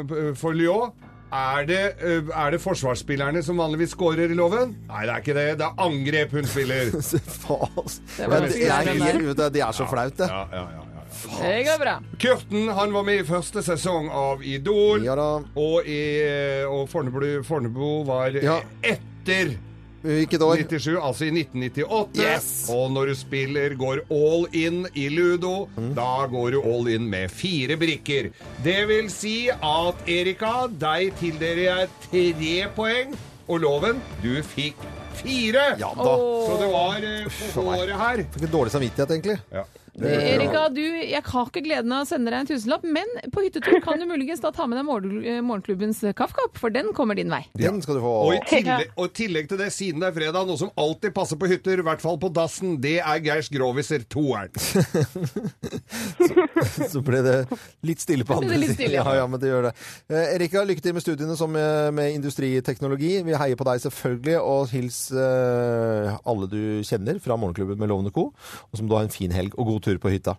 Speaker 5: eh, for Lyon. Er det, eh, er det forsvarsspillerne som vanligvis skårer i loven? Nei, det er ikke det. Det er angrep hun spiller.
Speaker 3: Faen.
Speaker 4: Det
Speaker 3: Ja,
Speaker 4: var
Speaker 3: det,
Speaker 4: ganske
Speaker 3: jeg
Speaker 4: greit,
Speaker 3: er
Speaker 4: den der.
Speaker 3: helt ute. Det er så flaut, det.
Speaker 5: Ja, ja, ja, ja.
Speaker 4: Det går bra.
Speaker 5: Kurten han var med i første sesong av Idol.
Speaker 3: Ja da.
Speaker 5: Og, i, eh, og Fornebu, Fornebu var
Speaker 3: Ja.
Speaker 5: etter
Speaker 3: Hvilket år?
Speaker 5: 97, altså i 1998.
Speaker 3: Yes!
Speaker 5: Og når du spiller går all in i ludo,
Speaker 3: Mm.
Speaker 5: da går du all in med fire brikker. Det vil si at Erika, deg tildeler jeg tre poeng, og Loven, du fikk fire.
Speaker 3: Ja da.
Speaker 5: Så det var eh, på
Speaker 3: meg.
Speaker 5: håret her.
Speaker 3: Fikk en dårlig samvittighet, egentlig.
Speaker 5: Ja.
Speaker 4: Erika, du, jeg har ikke gleden av å sende deg en tusenlapp, men på hyttetur kan du muligens da ta med deg morgen- eh, morgenklubbens kaffekopp, for den kommer din vei.
Speaker 3: Den skal du få.
Speaker 5: Og i tillegg, og i tillegg til det, siden det er fredag, noe som alltid passer på hytter, i hvert fall på dassen, det er Geirs Groviser 2-eren.
Speaker 3: Så ble det litt stille på
Speaker 4: ble
Speaker 3: andre
Speaker 4: det litt stille, ja.
Speaker 3: Ja, ja, men det gjør det. Eh, Erika, lykke til med studiene som eh, med industriteknologi. Vi heier på deg selvfølgelig, og hils eh, alle du kjenner fra Morgenklubben med Lovende Co. Og så må du ha en fin helg og god tur på hytta.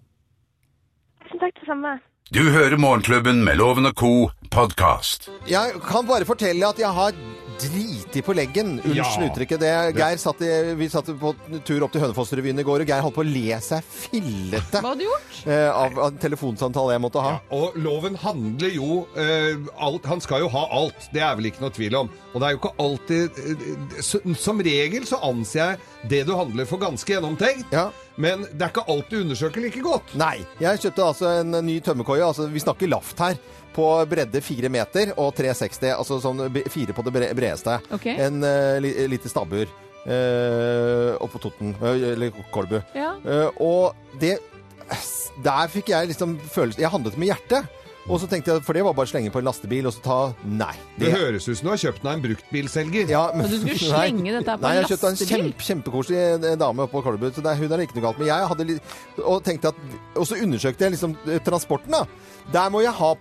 Speaker 8: Tusen takk, det samme.
Speaker 2: Du hører Morgenklubben med Loven og Co. podkast.
Speaker 3: Jeg kan bare fortelle at jeg har driti på leggen. Unnskyld
Speaker 5: Ja.
Speaker 3: uttrykket. Det, Geir satt i, vi satt på tur opp til Hønefoss-revyen i går, og Geir holdt på å le seg fillete
Speaker 4: Hva har du gjort?
Speaker 3: eh, av, av en telefonsamtale jeg måtte ha.
Speaker 5: Og loven handler jo eh, alt, Han skal jo ha alt. Det er vel ikke noe tvil om. Og det er jo ikke alltid eh, så, Som regel så anser jeg det du handler for ganske gjennomtenkt.
Speaker 3: Ja.
Speaker 5: Men det er ikke alt du undersøker like godt.
Speaker 3: Nei. Jeg kjøpte altså en ny tømmerkoie. Altså, vi snakker laft her. På bredde fire meter og 360. Altså sånn b- fire på det bre- bredeste.
Speaker 4: Ok.
Speaker 3: En eh, li- lite stabbur eh, oppå Totten. eh, Eller Kolbu.
Speaker 4: Ja.
Speaker 3: Eh, og det Der fikk jeg liksom følelsen Jeg handlet med hjertet. Og så tenkte jeg, for det var bare å slenge på en lastebil og så ta Nei.
Speaker 5: Det høres ut som du har kjøpt deg en bruktbilselger.
Speaker 3: Ja, men-
Speaker 4: Og Altså, du skulle
Speaker 3: Nei.
Speaker 4: slenge dette her på
Speaker 3: Nei,
Speaker 4: en
Speaker 3: jeg kjøpte en
Speaker 4: lastebil?
Speaker 3: kjempe, kjempekoselig eh, dame oppe på Kolbu. Så det, er- hun er det ikke noe galt med. Jeg hadde litt, og tenkte at, og så undersøkte jeg liksom eh, transporten, da. Der må jeg ha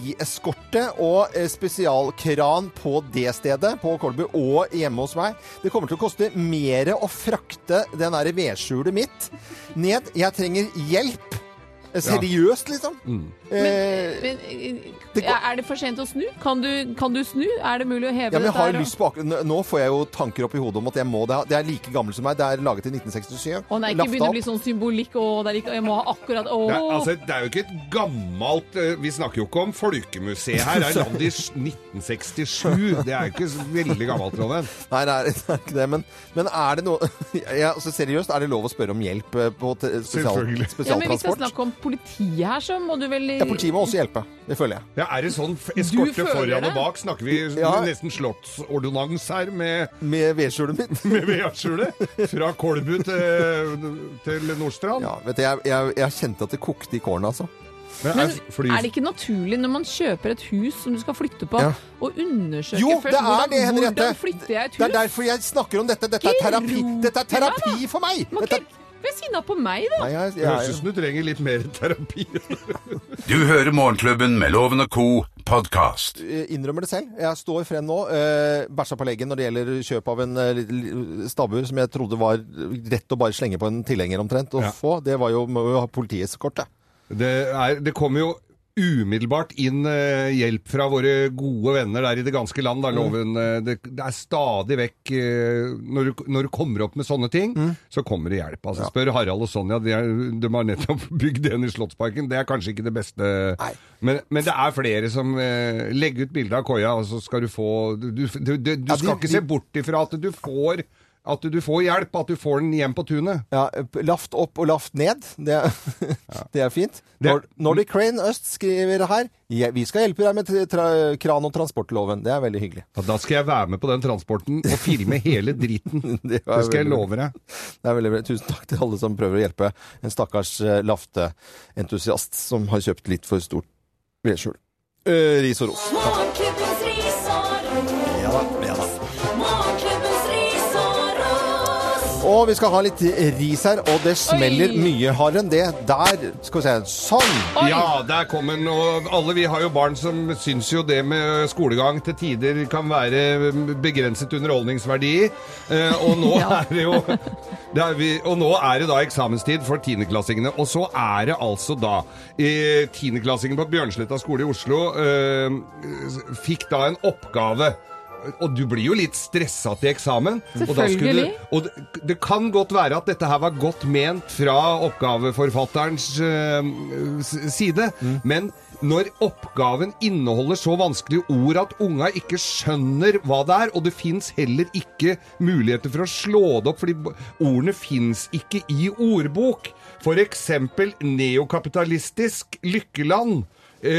Speaker 3: politieskorte og eh, spesialkran på det stedet, på Kolbu, og hjemme hos meg. Det kommer til å koste mer å frakte den derre vedskjulet mitt ned. Jeg trenger hjelp. Eh, Seriøst, liksom. Eh,
Speaker 4: Men eh,
Speaker 3: Det går-
Speaker 4: er det for sent å snu? Kan du, kan du snu? Er det mulig å heve
Speaker 3: Ja, men jeg
Speaker 4: dette
Speaker 3: har
Speaker 4: her
Speaker 3: jo
Speaker 4: og-
Speaker 3: lyst på akkurat- Nå nå får jeg jo tanker opp i hodet om at jeg må det. Det er like gammel som meg. Det er laget i 1967.
Speaker 4: Å nei, ikke
Speaker 3: Lafta
Speaker 4: begynne
Speaker 3: opp.
Speaker 4: å bli sånn symbolikk. Å, det er ikke, jeg må ha akkurat Å!
Speaker 5: Det er, altså, det er jo ikke et gammelt eh, Vi snakker jo ikke om folkemuseet her. Det er landet i s- 1967. Det er jo ikke så veldig gammelt, Trondheim.
Speaker 3: Nei, det er, det er ikke det. Men, men er det noe ja, altså, Seriøst, er det lov å spørre om hjelp eh, på te- spesial,
Speaker 5: Selvfølgelig.
Speaker 4: ja, men hvis det er
Speaker 3: spesialtransport?
Speaker 4: snakk om politiet her, så må du vel
Speaker 3: Ja, Politiet må også hjelpe. Det føler jeg.
Speaker 5: Ja, er det sånn f- eskorte
Speaker 4: føler
Speaker 5: foran
Speaker 4: det?
Speaker 5: og bak? Snakker vi
Speaker 3: Ja.
Speaker 5: nesten slottsordonnans her med,
Speaker 3: Med vedskjulet mitt.
Speaker 5: med vedskjulet? Fra Kolbu til, eh, til Nordstrand?
Speaker 3: Ja, vet du, jeg, jeg, jeg kjente at det kokte i kårene, altså.
Speaker 5: Men
Speaker 4: Men
Speaker 5: er fly-
Speaker 4: er det ikke naturlig når man kjøper et hus som du skal flytte på,
Speaker 3: Ja.
Speaker 4: å undersøke
Speaker 3: Jo,
Speaker 4: først
Speaker 3: det er
Speaker 4: hvordan,
Speaker 3: det, Henriette!
Speaker 4: hvordan flytter jeg et
Speaker 3: Det er
Speaker 4: hus?
Speaker 3: derfor jeg snakker om dette. Dette er
Speaker 4: Ikke
Speaker 3: terapi,
Speaker 4: rot
Speaker 3: dette er
Speaker 4: meg, da.
Speaker 3: terapi for meg!
Speaker 4: Man
Speaker 3: Dette
Speaker 4: kan
Speaker 3: er,
Speaker 4: ikke være sinna på meg, da!
Speaker 3: nei, jeg,
Speaker 5: Det
Speaker 3: jeg,
Speaker 5: høres ut som du trenger litt mer terapi.
Speaker 2: Du hører Morgenklubben med Loven og Co. podkast.
Speaker 3: eh, innrømmer det selv. Jeg står frem nå, eh, bæsja på leggen når det gjelder kjøp av en eh, li- li- stabbur som jeg trodde var rett å bare slenge på en tilhenger omtrent og
Speaker 5: Ja.
Speaker 3: få. Det var jo, må jo ha politieskorte.
Speaker 5: Det, er, det kommer jo umiddelbart inn eh, hjelp fra våre gode venner der i det ganske
Speaker 3: Mm.
Speaker 5: land. Da, loven, eh, det, det er stadig vekk eh, når, du, når du kommer opp med sånne ting,
Speaker 3: Mm.
Speaker 5: så kommer det hjelp. Altså, Spør Harald og Sonja, de, er, de har nettopp bygd en i Slottsparken. Det er kanskje ikke det beste.
Speaker 3: Nei.
Speaker 5: Men, men det er flere som eh, legger ut bilde av koia, og så skal du få Du, du, du, du
Speaker 3: Ja, de-
Speaker 5: skal ikke se
Speaker 3: de-
Speaker 5: bort ifra at du får at du får hjelp, at du får den hjem på tunet.
Speaker 3: Ja, laft opp og laft ned. Det, er- det er fint.
Speaker 5: Det-
Speaker 3: Nor Nordic Crane Øst skriver her ja, Vi skal hjelpe deg med tra- tra kran- og transportloven. Det er veldig hyggelig.
Speaker 5: Ja, Da skal jeg være med på den transporten og filme hele driten.
Speaker 3: Det
Speaker 5: Det,
Speaker 3: var
Speaker 5: skal jeg
Speaker 3: veldig
Speaker 5: love deg.
Speaker 3: Det er veldig bra. Tusen takk til alle som prøver å hjelpe en stakkars eh, lafteentusiast som har kjøpt litt for stort vedskjul. Eh, ris og ros.
Speaker 1: Morgenklubbens ris og ros.
Speaker 3: Ja da, ja da.
Speaker 1: Morgenklubbens ris og ros.
Speaker 3: Og vi skal ha litt ris her, og det smeller
Speaker 4: Oi.
Speaker 3: mye hardere enn det. Der skal vi se. Sånn!
Speaker 4: Oi!
Speaker 5: Ja, der kom en, og alle vi har jo barn som syns jo det med skolegang til tider kan være begrenset underholdningsverdi i. Eh, og nå
Speaker 4: Ja.
Speaker 5: er det jo det er vi, Og nå er det da eksamenstid for tiendeklassingene. Og så er det altså da eh, Tiendeklassingen på Bjørnsletta skole i Oslo eh, fikk da en oppgave. Og du blir jo litt stressa til eksamen. og da skulle
Speaker 4: Selvfølgelig.
Speaker 5: du- Og det, det kan godt være at dette her var godt ment fra oppgaveforfatterens eh, s- side, men når oppgaven inneholder så vanskelige ord at unga ikke skjønner hva det er, og det fins heller ikke muligheter for å slå det opp, fordi b- ordene fins ikke i ordbok. For eksempel neokapitalistisk lykkeland. Eh,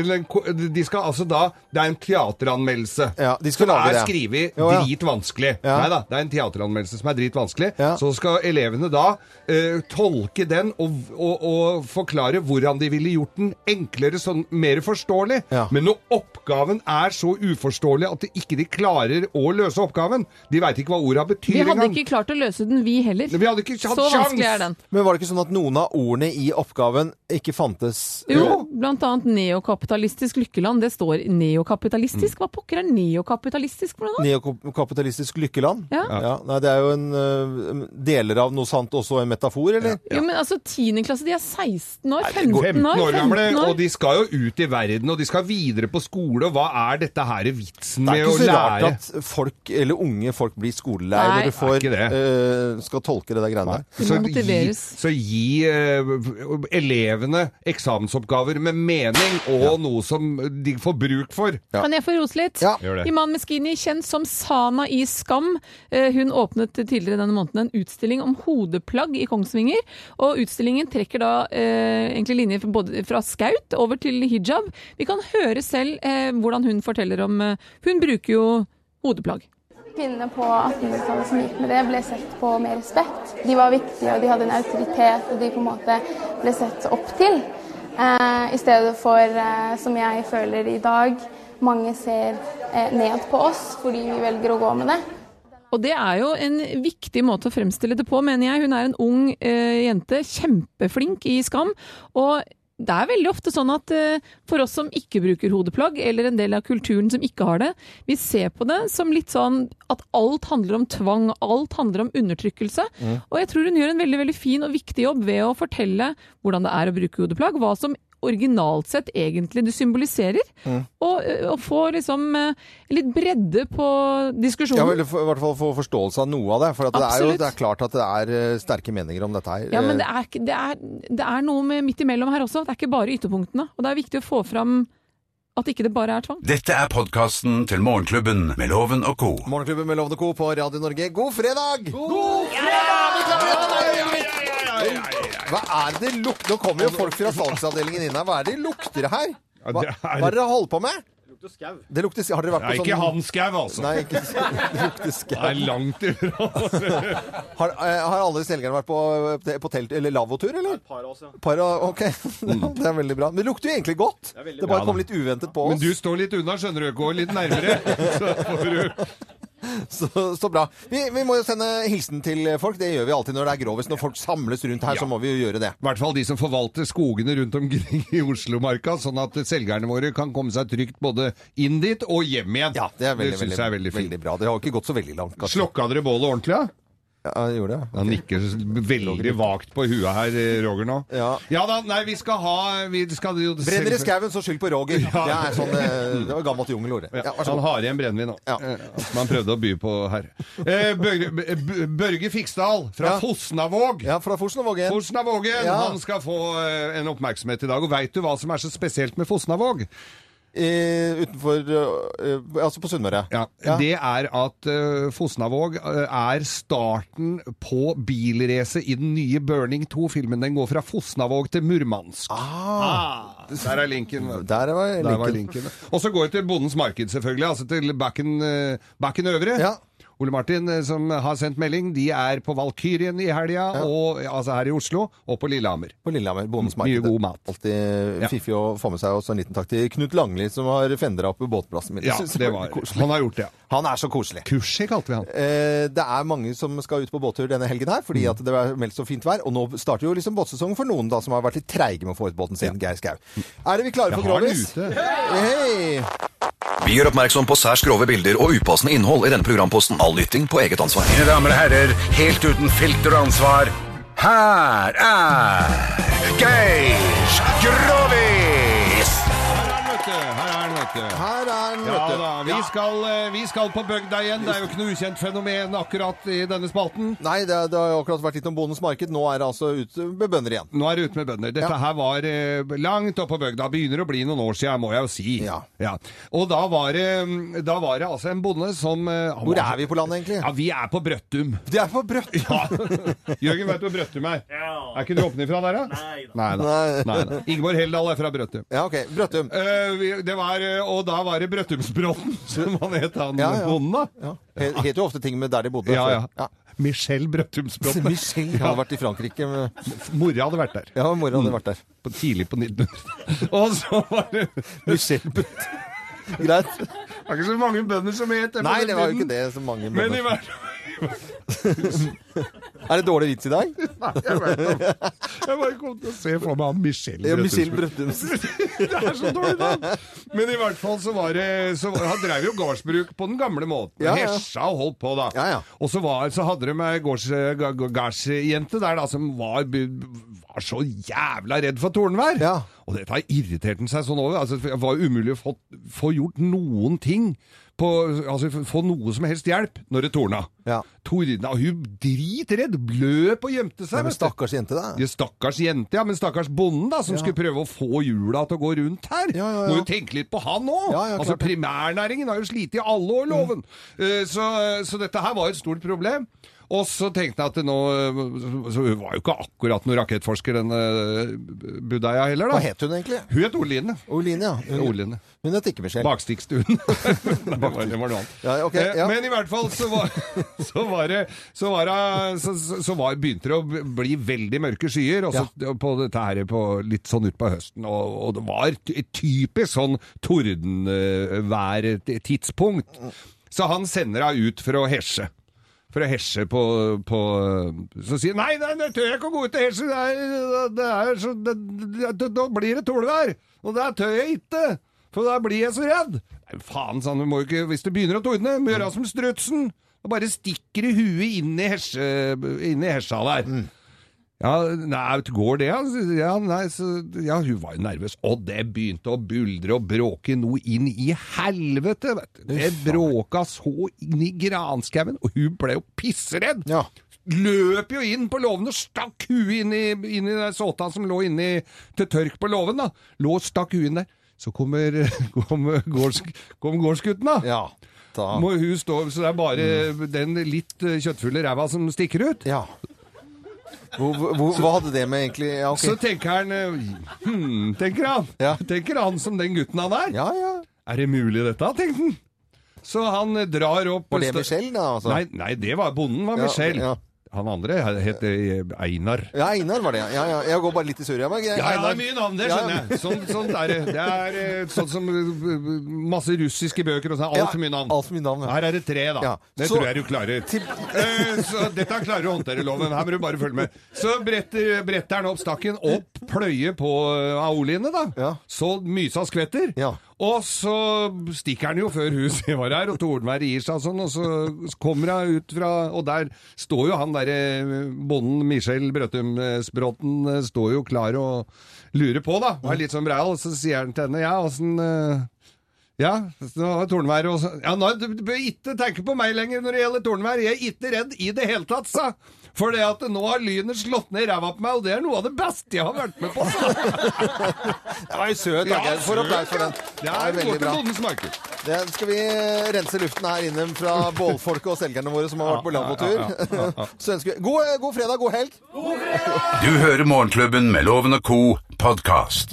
Speaker 5: eller en ko- de skal altså da Det er en teateranmeldelse.
Speaker 3: Ja, de skal
Speaker 5: som
Speaker 3: lage
Speaker 5: er
Speaker 3: det.
Speaker 5: skrevet
Speaker 3: Jo, ja.
Speaker 5: dritvanskelig.
Speaker 3: Ja.
Speaker 5: Nei da, det er en teateranmeldelse som er dritvanskelig.
Speaker 3: Ja.
Speaker 5: Så skal elevene da eh, tolke den og, og, og forklare hvordan de ville gjort den enklere, sånn mer forståelig.
Speaker 3: Ja.
Speaker 5: Men når oppgaven er så uforståelig at de ikke de klarer å løse oppgaven De veit ikke hva orda betyr
Speaker 4: Vi hadde
Speaker 5: engang.
Speaker 4: ikke klart å løse den, vi heller.
Speaker 5: Vi hadde ikke hatt
Speaker 4: Så
Speaker 5: sjans.
Speaker 4: vanskelig er den.
Speaker 3: Men var det ikke sånn at noen av ordene i oppgaven ikke fantes?
Speaker 4: Jo, blant annet neokapitalistisk lykkeland. Det står neokapitalistisk.
Speaker 5: Mm.
Speaker 4: Hva pokker er neokapitalistisk for noe da?
Speaker 3: Neokapitalistisk lykkeland?
Speaker 4: Ja.
Speaker 3: Nei, det er jo en øh, deler av noe sant også en metafor, eller?
Speaker 4: Jo, men altså, tiendeklasse, de er 16 år, 15 år,
Speaker 5: 15 år gamle,
Speaker 4: 15 år.
Speaker 5: og de skal jo ut i verden, og de skal videre på skole, og hva er dette her
Speaker 3: Det
Speaker 5: vitsen med
Speaker 3: er
Speaker 5: å
Speaker 3: ikke så rart
Speaker 5: lære?
Speaker 3: at folk, eller unge folk, blir skolelei
Speaker 4: Nei.
Speaker 3: når du får,
Speaker 5: Det er ikke det.
Speaker 3: øh, skal tolke det der greiene der.
Speaker 4: De må
Speaker 5: Så gi,
Speaker 4: motiveres.
Speaker 5: så gi eh, elevene eksamensoppgaver med mening og noe som de får bruk for.
Speaker 4: Kan jeg få rose litt?
Speaker 3: Ja.
Speaker 5: Gjør det.
Speaker 4: Iman Meskini, kjent som Sana i Skam, eh, hun åpnet tidligere denne måneden en utstilling om hodeplagg i Kongsvinger. Og utstillingen trekker da eh, egentlig linjer fra- både fra skaut over til hijab. Vi kan høre selv eh, hvordan hun forteller om eh, Hun bruker jo hodeplagg.
Speaker 11: Kvinnene på 1800-tallet som gikk med det, ble sett på med respekt. De var viktige, og de hadde en autoritet, og de på en måte ble sett opp til. Eh, I stedet for, eh, som jeg føler i dag, mange ser eh, ned på oss fordi vi velger å gå med det.
Speaker 4: Og det er jo en viktig måte å fremstille det på, mener jeg. Hun er en ung eh, jente, kjempeflink i Skam. Og det er veldig ofte sånn at eh, for oss som ikke bruker hodeplagg, eller en del av kulturen som ikke har det, vi ser på det som litt sånn at alt handler om tvang, alt handler om undertrykkelse.
Speaker 1: Mm.
Speaker 4: Og jeg tror hun gjør en veldig, veldig fin og viktig jobb ved å fortelle hvordan det er å bruke hodeplagg, hva som originalt sett egentlig du symboliserer,
Speaker 3: Mm.
Speaker 4: og, eh, og få liksom eh, litt bredde på diskusjonen.
Speaker 3: Ja, vel, for, I hvert fall få forståelse av noe av det. For at det er jo
Speaker 4: Absolutt.
Speaker 3: det er klart at det er eh, sterke meninger om dette her.
Speaker 4: Ja, men
Speaker 3: Eh,
Speaker 4: det er, ikke- det, er, det er noe med midt imellom her også. Det er ikke bare ytterpunktene. Og det er viktig å få fram at ikke det bare er tvang.
Speaker 2: Dette er podkasten til Morgenklubben med Loven og co.
Speaker 3: Morgenklubben med Lovende Co. på Radio Norge, god fredag! Hva er det lukter? Nå kommer jo folk fra salgsavdelingen inn her. Hva er det de lukter her? Hva, hva
Speaker 5: det
Speaker 3: er
Speaker 5: er-
Speaker 3: det dere holder på med? Det lukter skau. Har dere vært
Speaker 5: Nei,
Speaker 3: på sånn
Speaker 5: ikke han skau, altså.
Speaker 3: Nei, ikke det lukter skau.
Speaker 5: Det er langt ifra.
Speaker 3: Har, eh, har alle selgerne vært på, eh, på telt- eller lavvotur, eller? Et
Speaker 12: par av oss, ja.
Speaker 3: ok. Det er veldig bra. Men det lukter jo egentlig godt. Det,
Speaker 5: bra.
Speaker 3: bare
Speaker 5: Ja,
Speaker 3: kom
Speaker 5: da.
Speaker 3: litt uventet på oss.
Speaker 5: Mm. Men du står litt unna, skjønner du. Gå litt nærmere. Så får du
Speaker 3: Så, så bra. Vi, vi må jo sende hilsen til folk. Det gjør vi alltid når det er grovest. Når folk samles rundt her, så må vi jo gjøre det.
Speaker 5: I hvert fall de som forvalter skogene rundt omkring i Oslomarka, sånn at selgerne våre kan komme seg trygt både inn dit og hjem igjen. Ja,
Speaker 3: Det er veldig,
Speaker 5: synes
Speaker 3: veldig,
Speaker 5: jeg er
Speaker 3: veldig,
Speaker 5: veldig fint.
Speaker 3: bra. Dere har jo ikke gått så veldig langt. kanskje.
Speaker 5: Slokka dere bålet ordentlig, da?
Speaker 3: Ja, jeg gjorde det.
Speaker 5: Han nikker veldig vagt på huet her, eh, Roger, nå. Ja, da, nei, vi skal ha vi skal jo
Speaker 3: Brenner i skauen, så skyld på Roger. Det er sånn eh, Det var gammelt jungelord. Ja, vær så
Speaker 5: Han
Speaker 3: god.
Speaker 5: har igjen brennevin nå, eh, som han prøvde å by på her. Eh, Børge, B- Børge Fiksdal fra
Speaker 3: Ja.
Speaker 5: Fosnavåg.
Speaker 3: Ja, fra Fosnavågen.
Speaker 5: Fosnavågen,
Speaker 3: Ja.
Speaker 5: Han skal få eh, en oppmerksomhet i dag. Og veit du hva som er så spesielt med Fosnavåg?
Speaker 3: Eh, utenfor eh, eh, Altså på Sunnmøre.
Speaker 5: Ja, Det er at eh, Fosnavåg eh, er starten på bilrace i den nye Burning 2-filmen. Den går fra Fosnavåg til Murmansk. Ah, der er linken. vet du.
Speaker 3: Der var
Speaker 5: Der var linken. Og så går jeg til Bondens Marked, selvfølgelig. Altså til Bakken, eh, bakken Øvre. Ole Martin, eh, som har sendt melding, de er på Valkyrien i helga, og, altså her i Oslo, og på Lillehammer.
Speaker 3: På Lillehammer. Bondens
Speaker 5: Mye
Speaker 3: marked.
Speaker 5: god mat.
Speaker 3: Alltid fiffig å få med seg. Og så en liten takk til Knut Langli, som har fendra opp båtplassen min.
Speaker 5: Ja,
Speaker 3: Jeg synes var
Speaker 5: det var,
Speaker 3: veldig koselig.
Speaker 5: han har gjort det.
Speaker 3: Han er så koselig.
Speaker 5: Kursi kalte vi han.
Speaker 3: Eh, det er mange som skal ut på båttur denne helgen her,
Speaker 5: Mm.
Speaker 3: fordi at det er meldt så fint vær. Og nå starter jo liksom båtsesongen for noen da, som har vært litt treige med å få ut båten sin. Geir Skau. Er det vi klare for
Speaker 13: Jeg har den
Speaker 3: Grovis? Hei!
Speaker 13: Vi gjør oppmerksom på særs grove bilder og upassende innhold i denne programposten. All lytting på eget ansvar.
Speaker 2: Mine damer og herrer, helt uten filter og ansvar, her er Geir Grovis!
Speaker 5: Vet du, Her er han, vet du.
Speaker 3: Her er han,
Speaker 5: ja,
Speaker 3: vet du.
Speaker 5: Da, vi, skal, eh, vi skal på bygda igjen. Det er jo ikke noe ukjent fenomen akkurat i denne spalten.
Speaker 3: Nei, det, det har jo akkurat vært litt om Bondens marked. Nå er det altså ut med bønder igjen.
Speaker 5: Nå er det ute med bønder. Dette her var eh, langt oppe på bygda. Begynner å bli noen år siden, må jeg jo si. Ja. Og da var, det, da var det altså en bonde som eh, han
Speaker 3: Hvor
Speaker 5: var-
Speaker 3: er vi på landet, egentlig?
Speaker 5: Ja, Vi er på Brøttum.
Speaker 3: De er på Brøttum?
Speaker 5: Ja. Jørgen, vet du hvor Brøttum er? Er ikke du oppnifra der, da? Nei da.
Speaker 3: Nei.
Speaker 5: Nei, da. Ingeborg Heldal er fra Brøttum.
Speaker 3: Ja, ok. Brøttum.
Speaker 5: det var, eh, og da var det Brøttumsbråten, som han het, han
Speaker 3: Ja, ja.
Speaker 5: bonden, da.
Speaker 3: Ja. He- Het jo ofte ting med der de bodde.
Speaker 5: Ja,
Speaker 3: før.
Speaker 5: ja. Michelle Brøttumsbråten.
Speaker 3: Michelle hadde vært i Frankrike.
Speaker 5: Mora hadde vært der.
Speaker 3: Ja, mora
Speaker 5: Mm.
Speaker 3: hadde vært der.
Speaker 5: På, tidlig på 1900. og så var det
Speaker 3: Michelle Brøttum. Greit. Det
Speaker 5: var ikke så mange bønder som het på
Speaker 3: Nei,
Speaker 5: den
Speaker 3: det var jo
Speaker 5: tiden.
Speaker 3: ikke det så mange
Speaker 5: Men i
Speaker 3: bønder.
Speaker 5: hvert
Speaker 3: Er det dårlig vits i dag?
Speaker 5: Nei, jeg vet ikke. Jeg bare kom til å se for meg han Michelle
Speaker 3: Ja, Michelle
Speaker 5: det er så dårlig navn! Men i hvert fall så var det så var, Han drev jo gårdsbruk på den gamle måten.
Speaker 3: Ja, ja.
Speaker 5: Hesja og holdt på, da. Og så, var, så hadde de ei gårds- ga- ga- gardsjente der da som var, var så jævla redd for tordenvær. Og dette har irritert han seg sånn over. Altså, det var jo umulig å få, få gjort noen ting. På, altså Få noe som helst hjelp når det torna. Tordna, og Hun dritredd, løp og gjemte seg.
Speaker 3: Nei, men
Speaker 5: vet du.
Speaker 3: stakkars jente, da.
Speaker 5: Ja, stakkars jente, ja, men stakkars bonden da, som
Speaker 3: Ja.
Speaker 5: skulle prøve å få hjula til å gå rundt her. Må jo tenke litt på han òg!
Speaker 3: ja, klart
Speaker 5: altså,
Speaker 3: det. Mm.
Speaker 5: primærnæringen har jo slitt i alle år, loven. Eh, så, så dette her var et stort problem. Og så tenkte jeg at det nå Så så hun var jo ikke akkurat noen rakettforsker, den eh, Budeia heller, da.
Speaker 3: Hva het hun egentlig?
Speaker 5: Hun het Oline.
Speaker 3: Oline, ja. Hun,
Speaker 5: Oline.
Speaker 3: hun het ikke Michelle.
Speaker 5: Bakstikkstuen. Nei, det var- det var noe annet.
Speaker 3: Ja, ok,
Speaker 5: Eh,
Speaker 3: ja.
Speaker 5: Men i hvert fall så var, så var det Så, var det, så, så- så var, begynte det å bli veldig mørke skyer, og så på dette her på, litt sånn utpå høsten, og, og det var ty- et typisk sånn tordenværtidspunkt. Så han sender henne ut for å hesje. For å hesje på, på Så sier han, nei, nei, nei, tør jeg ikke å gå ut og hesje, det er, det er så det, det, det, Da blir det tordenvær! Og det tør jeg ikke! For da blir jeg så redd! Nei, faen, sa han, du må jo ikke Hvis det begynner å tordne, må gjøre som strutsen! Og bare stikker i huet inn i, hesje, inn i hesja der. Ja, nei, går det, altså? Ja, nei, så, ja, hun var jo nervøs. Og det begynte å buldre og bråke noe inn i helvete, vet du. Det bråka så inn i granskauen, og hun ble jo pisseredd. Løp jo inn på låven og stakk huet inn i, inn i den såta som lå inni til tørk på låven, da. Lå og stakk huet inn der. Så kommer, kommer gårds, kom gårdsgutten, da. Ja,
Speaker 3: da.
Speaker 5: Må hun stå, så det er bare den litt eh, kjøttfulle ræva som stikker ut.
Speaker 3: Ja. Hvor, hvor, hva hadde det med egentlig ja, ok.
Speaker 5: Så tenker han eh, hmm, Tenker han Tenker han som den gutten han er Er det mulig dette, tenkte han Så han eh, drar opp
Speaker 3: Var det Michelle da, altså?
Speaker 5: Nei, nei, det var bonden var
Speaker 3: Ja,
Speaker 5: Michelle
Speaker 3: ja.
Speaker 5: Han andre het eh, Einar
Speaker 3: Ja, Einar var det, ja. ja, ja. Jeg går bare litt i surr, jeg. men
Speaker 5: ja,
Speaker 3: jeg-
Speaker 5: ja, det
Speaker 3: Einar-
Speaker 5: er mye navn, det
Speaker 3: Ja.
Speaker 5: skjønner jeg Sånn, sånn er det Det er eh, sånn som eh, masse russiske bøker og sånn Alt
Speaker 3: Ja,
Speaker 5: for mye navn
Speaker 3: alt for mye navn, ja.
Speaker 5: Her er det tre da
Speaker 3: Ja,
Speaker 5: Det
Speaker 3: så-
Speaker 5: tror jeg du klarer Eh, Så dette klarer du å håndtere loven Her må du bare følge med Så bretter, bretter han opp stakken Opp pløye på eh, Aoline da Så mysa skvetter Og så stikker han jo før huset var her Og Tordenberg gir seg og sånn Og så kommer han ut fra Og der står jo han der eh, Bonden Michel Brøttumsbråten eh, Står jo klar og lurer på da Og er litt sånn breil Og så sier han til henne Ja, åssen eh, ja, nå var tordenvær og så- Ja, nå, du, du bør ikke tenke på meg lenger når det gjelder tordenvær. Jeg er ikke redd i det hele tatt, sa. For det at nå har lynet slått ned ræva på meg, og det er noe av det beste jeg har vært med på.
Speaker 3: Det var jo søt, takk. Jeg får applaus for den.
Speaker 5: Det
Speaker 3: Det
Speaker 5: er
Speaker 3: er veldig
Speaker 5: godt
Speaker 3: bra.
Speaker 5: til bondens marked.
Speaker 3: Det skal vi eh, rense luften her inne fra bålfolket og selgerne våre som har vært på
Speaker 2: Ja, ja, ja, ja, ja.
Speaker 3: lavvotur. Så ønsker vi god, god fredag, god helg.
Speaker 2: Du hører Morgenklubben med Loven og Co. podkast.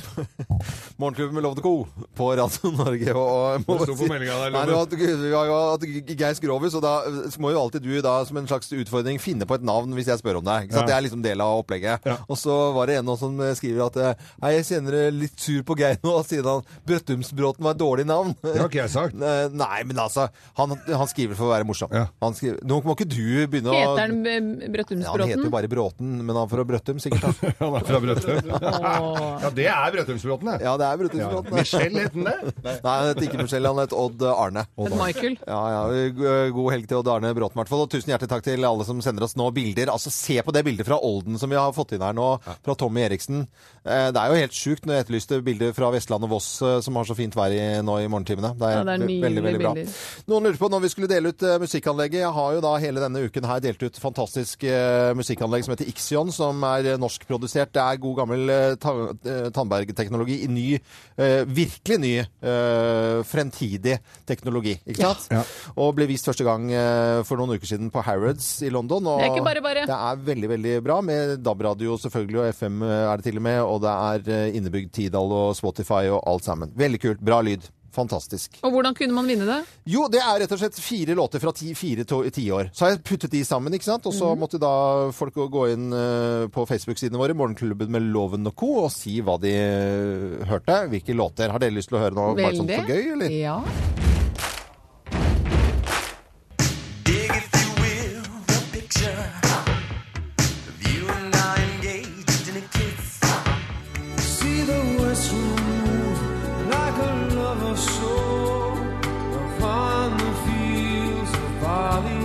Speaker 3: Morgenklubben med Lovende Co. på Radio Norge. Og, og, jeg må
Speaker 5: Det sto på
Speaker 3: si-
Speaker 5: meldingen der,
Speaker 3: Nei, det var at- Vi har jo hatt Geir Skrovis, og da eh, må jo alltid du da som en slags utfordring finne på et navn hvis jeg spør om deg. Ikke sant?
Speaker 5: Ja.
Speaker 3: Det er liksom del av opplegget. Og så var det en nå som skriver at eh, Hei, jeg kjenner det litt sur på Geir nå, siden han Brøttumsbråten var et dårlig navn. Det
Speaker 5: har ikke jeg sagt.
Speaker 3: Nei, men altså Han, han skriver for å være morsom. Han skriver, nå må ikke du begynne å
Speaker 4: Heter han eh,
Speaker 3: ja, han heter jo
Speaker 4: Brøttumsbråten?
Speaker 3: bare Bråten, men han er fra Brøttum, sikkert. Da.
Speaker 5: han er fra Brøttum. ja, det er Brøttumsbråten, det.
Speaker 3: Ja, det er Brøttumsbråten.
Speaker 5: Ja. Michelle het han det?
Speaker 3: Nei, han heter ikke Michelle, han het Odd Arne.
Speaker 4: Odd Arne. Michael.
Speaker 3: Ja, ja. g- God helg til Odd Arne Bråten, i hvert fall. Og tusen hjertelig takk til alle som sender oss nå bilder. Altså, se på det bildet fra Olden som vi har fått inn her nå, fra Tommy Eriksen. Eh, Det er jo helt sjukt når jeg etterlyste bilder fra Vestland og Voss, eh, som har så fint vær i, nå i morgentimene. Det er,
Speaker 4: Ja, det er
Speaker 3: ve- veldig,
Speaker 4: nydelige
Speaker 3: veldig bra.
Speaker 4: bilder.
Speaker 3: Noen lurer på når vi skulle dele ut eh, musikkanlegget. Jeg har jo da hele denne uken her delt ut fantastisk eh, musikkanlegg som heter Ixion, som er eh, norskprodusert. Det er god gammel eh, ta eh, Tandberg-teknologi i ny, eh, virkelig ny, eh, fremtidig teknologi. Ikke sant? Og ble vist første gang eh, for noen uker siden på Harrods i London. Og
Speaker 4: Det er ikke bare bare.
Speaker 3: Det er veldig, veldig bra med DAB-radio selvfølgelig, og FM er det til og med, og det er eh, innebygd Tidal og Spotify og alt sammen. Veldig kult. Bra lyd. Fantastisk.
Speaker 4: Og hvordan kunne man vinne det?
Speaker 3: Jo, det er rett og slett fire låter fra ti, fire to, tiår. Så har jeg puttet de sammen, ikke sant? Og så
Speaker 4: Mhm.
Speaker 3: måtte da folk gå- gå inn eh, på Facebook-sidene våre, Morgenklubben med Loven og Co, og si hva de eh, hørte. Hvilke låter. Har dere lyst til å høre noe bare sånn for gøy, eller?
Speaker 4: Ja.
Speaker 12: See the west move like a lover soul upon the fields of Bali.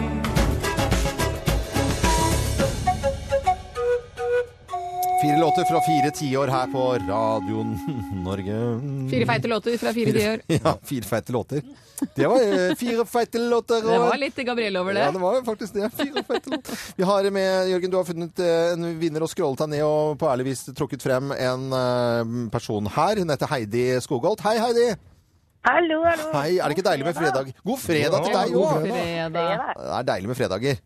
Speaker 3: Fire låter fra fire tiår her på Radioen Norge.
Speaker 4: Fire feite låter fra fire tiår.
Speaker 3: Ja, fire Mm. feite låter. Det var eh, fire feite låter.
Speaker 4: Det
Speaker 3: og-
Speaker 4: var litt Gabrielle over det.
Speaker 3: Ja, det var jo faktisk det. Fire og fett låt. Vi har med, Jørgen, du har funnet eh, en vinner og scrollet deg ned og på ærlig vis trukket frem en eh, person her. Hun heter Heidi Skogholt. Hei, Heidi!
Speaker 14: Hallo, hallo.
Speaker 3: Hei, er det ikke deilig med fredag? God fredag til deg
Speaker 14: jo.
Speaker 3: òg! Det er deilig med fredager.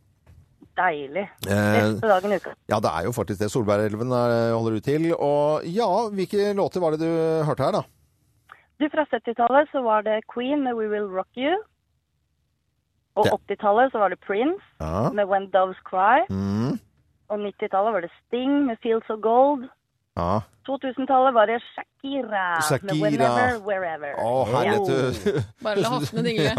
Speaker 9: deilig.
Speaker 3: Eh,
Speaker 9: Beste dagen i uka.
Speaker 3: Ja, det er jo faktisk det. Solbergelven eh, holder ut til. Og ja, hvilke låter var det du hørte her, da?
Speaker 9: Du, fra 70-tallet så var det Queen med We Will Rock You. Og
Speaker 3: Det-
Speaker 9: 80-tallet så var det Prince
Speaker 3: Ja.
Speaker 9: med When Doves Cry.
Speaker 3: Mm.
Speaker 9: Og 90-tallet var det Sting med Fields of Gold.
Speaker 3: Ja.
Speaker 9: 2000-tallet var det Shakira,
Speaker 3: Shakira.
Speaker 9: med Whenever, Wherever.
Speaker 3: Å, herlighet, du.
Speaker 9: Bare la hoftene dingle.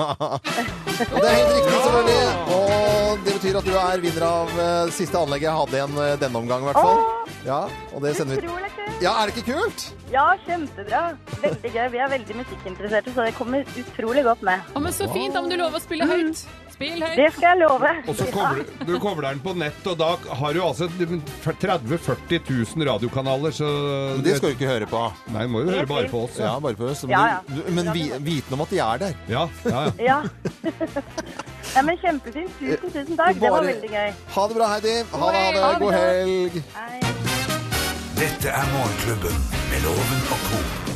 Speaker 3: Ja. Og Det er helt riktig, selvfølgelig. Og det betyr at du er vinner av eh, siste anlegget jeg hadde igjen eh, denne omgang, i hvert fall. Ja, og det sender vi
Speaker 9: Utrolig kult.
Speaker 3: Ja, er det ikke kult?
Speaker 9: Ja, kjempebra. Veldig gøy. Vi er veldig musikkinteresserte, så det kommer utrolig godt med.
Speaker 4: Ja, men så fint, da må du love å spille høyt.
Speaker 3: Mm.
Speaker 4: Spill høyt.
Speaker 9: Det skal jeg love.
Speaker 5: Og så kobler, du kobler den på nett, og da har du altså 30 000-40 000 radiokanaler, så
Speaker 3: Men det skal du ikke høre på.
Speaker 5: Nei, må jo høre bare på oss.
Speaker 3: Ja, bare på oss. Men,
Speaker 9: Ja, ja.
Speaker 3: du- men vi, viten om at de er der.
Speaker 5: Ja, ja,
Speaker 9: Ja. ja, men kjempefint. Tusen, tusen takk. Det var
Speaker 3: Bare-
Speaker 9: veldig gøy.
Speaker 3: Ha det bra, Heidi. Ha det, ha det. God helg.
Speaker 2: Dette er Morgenklubben med Loven og Co.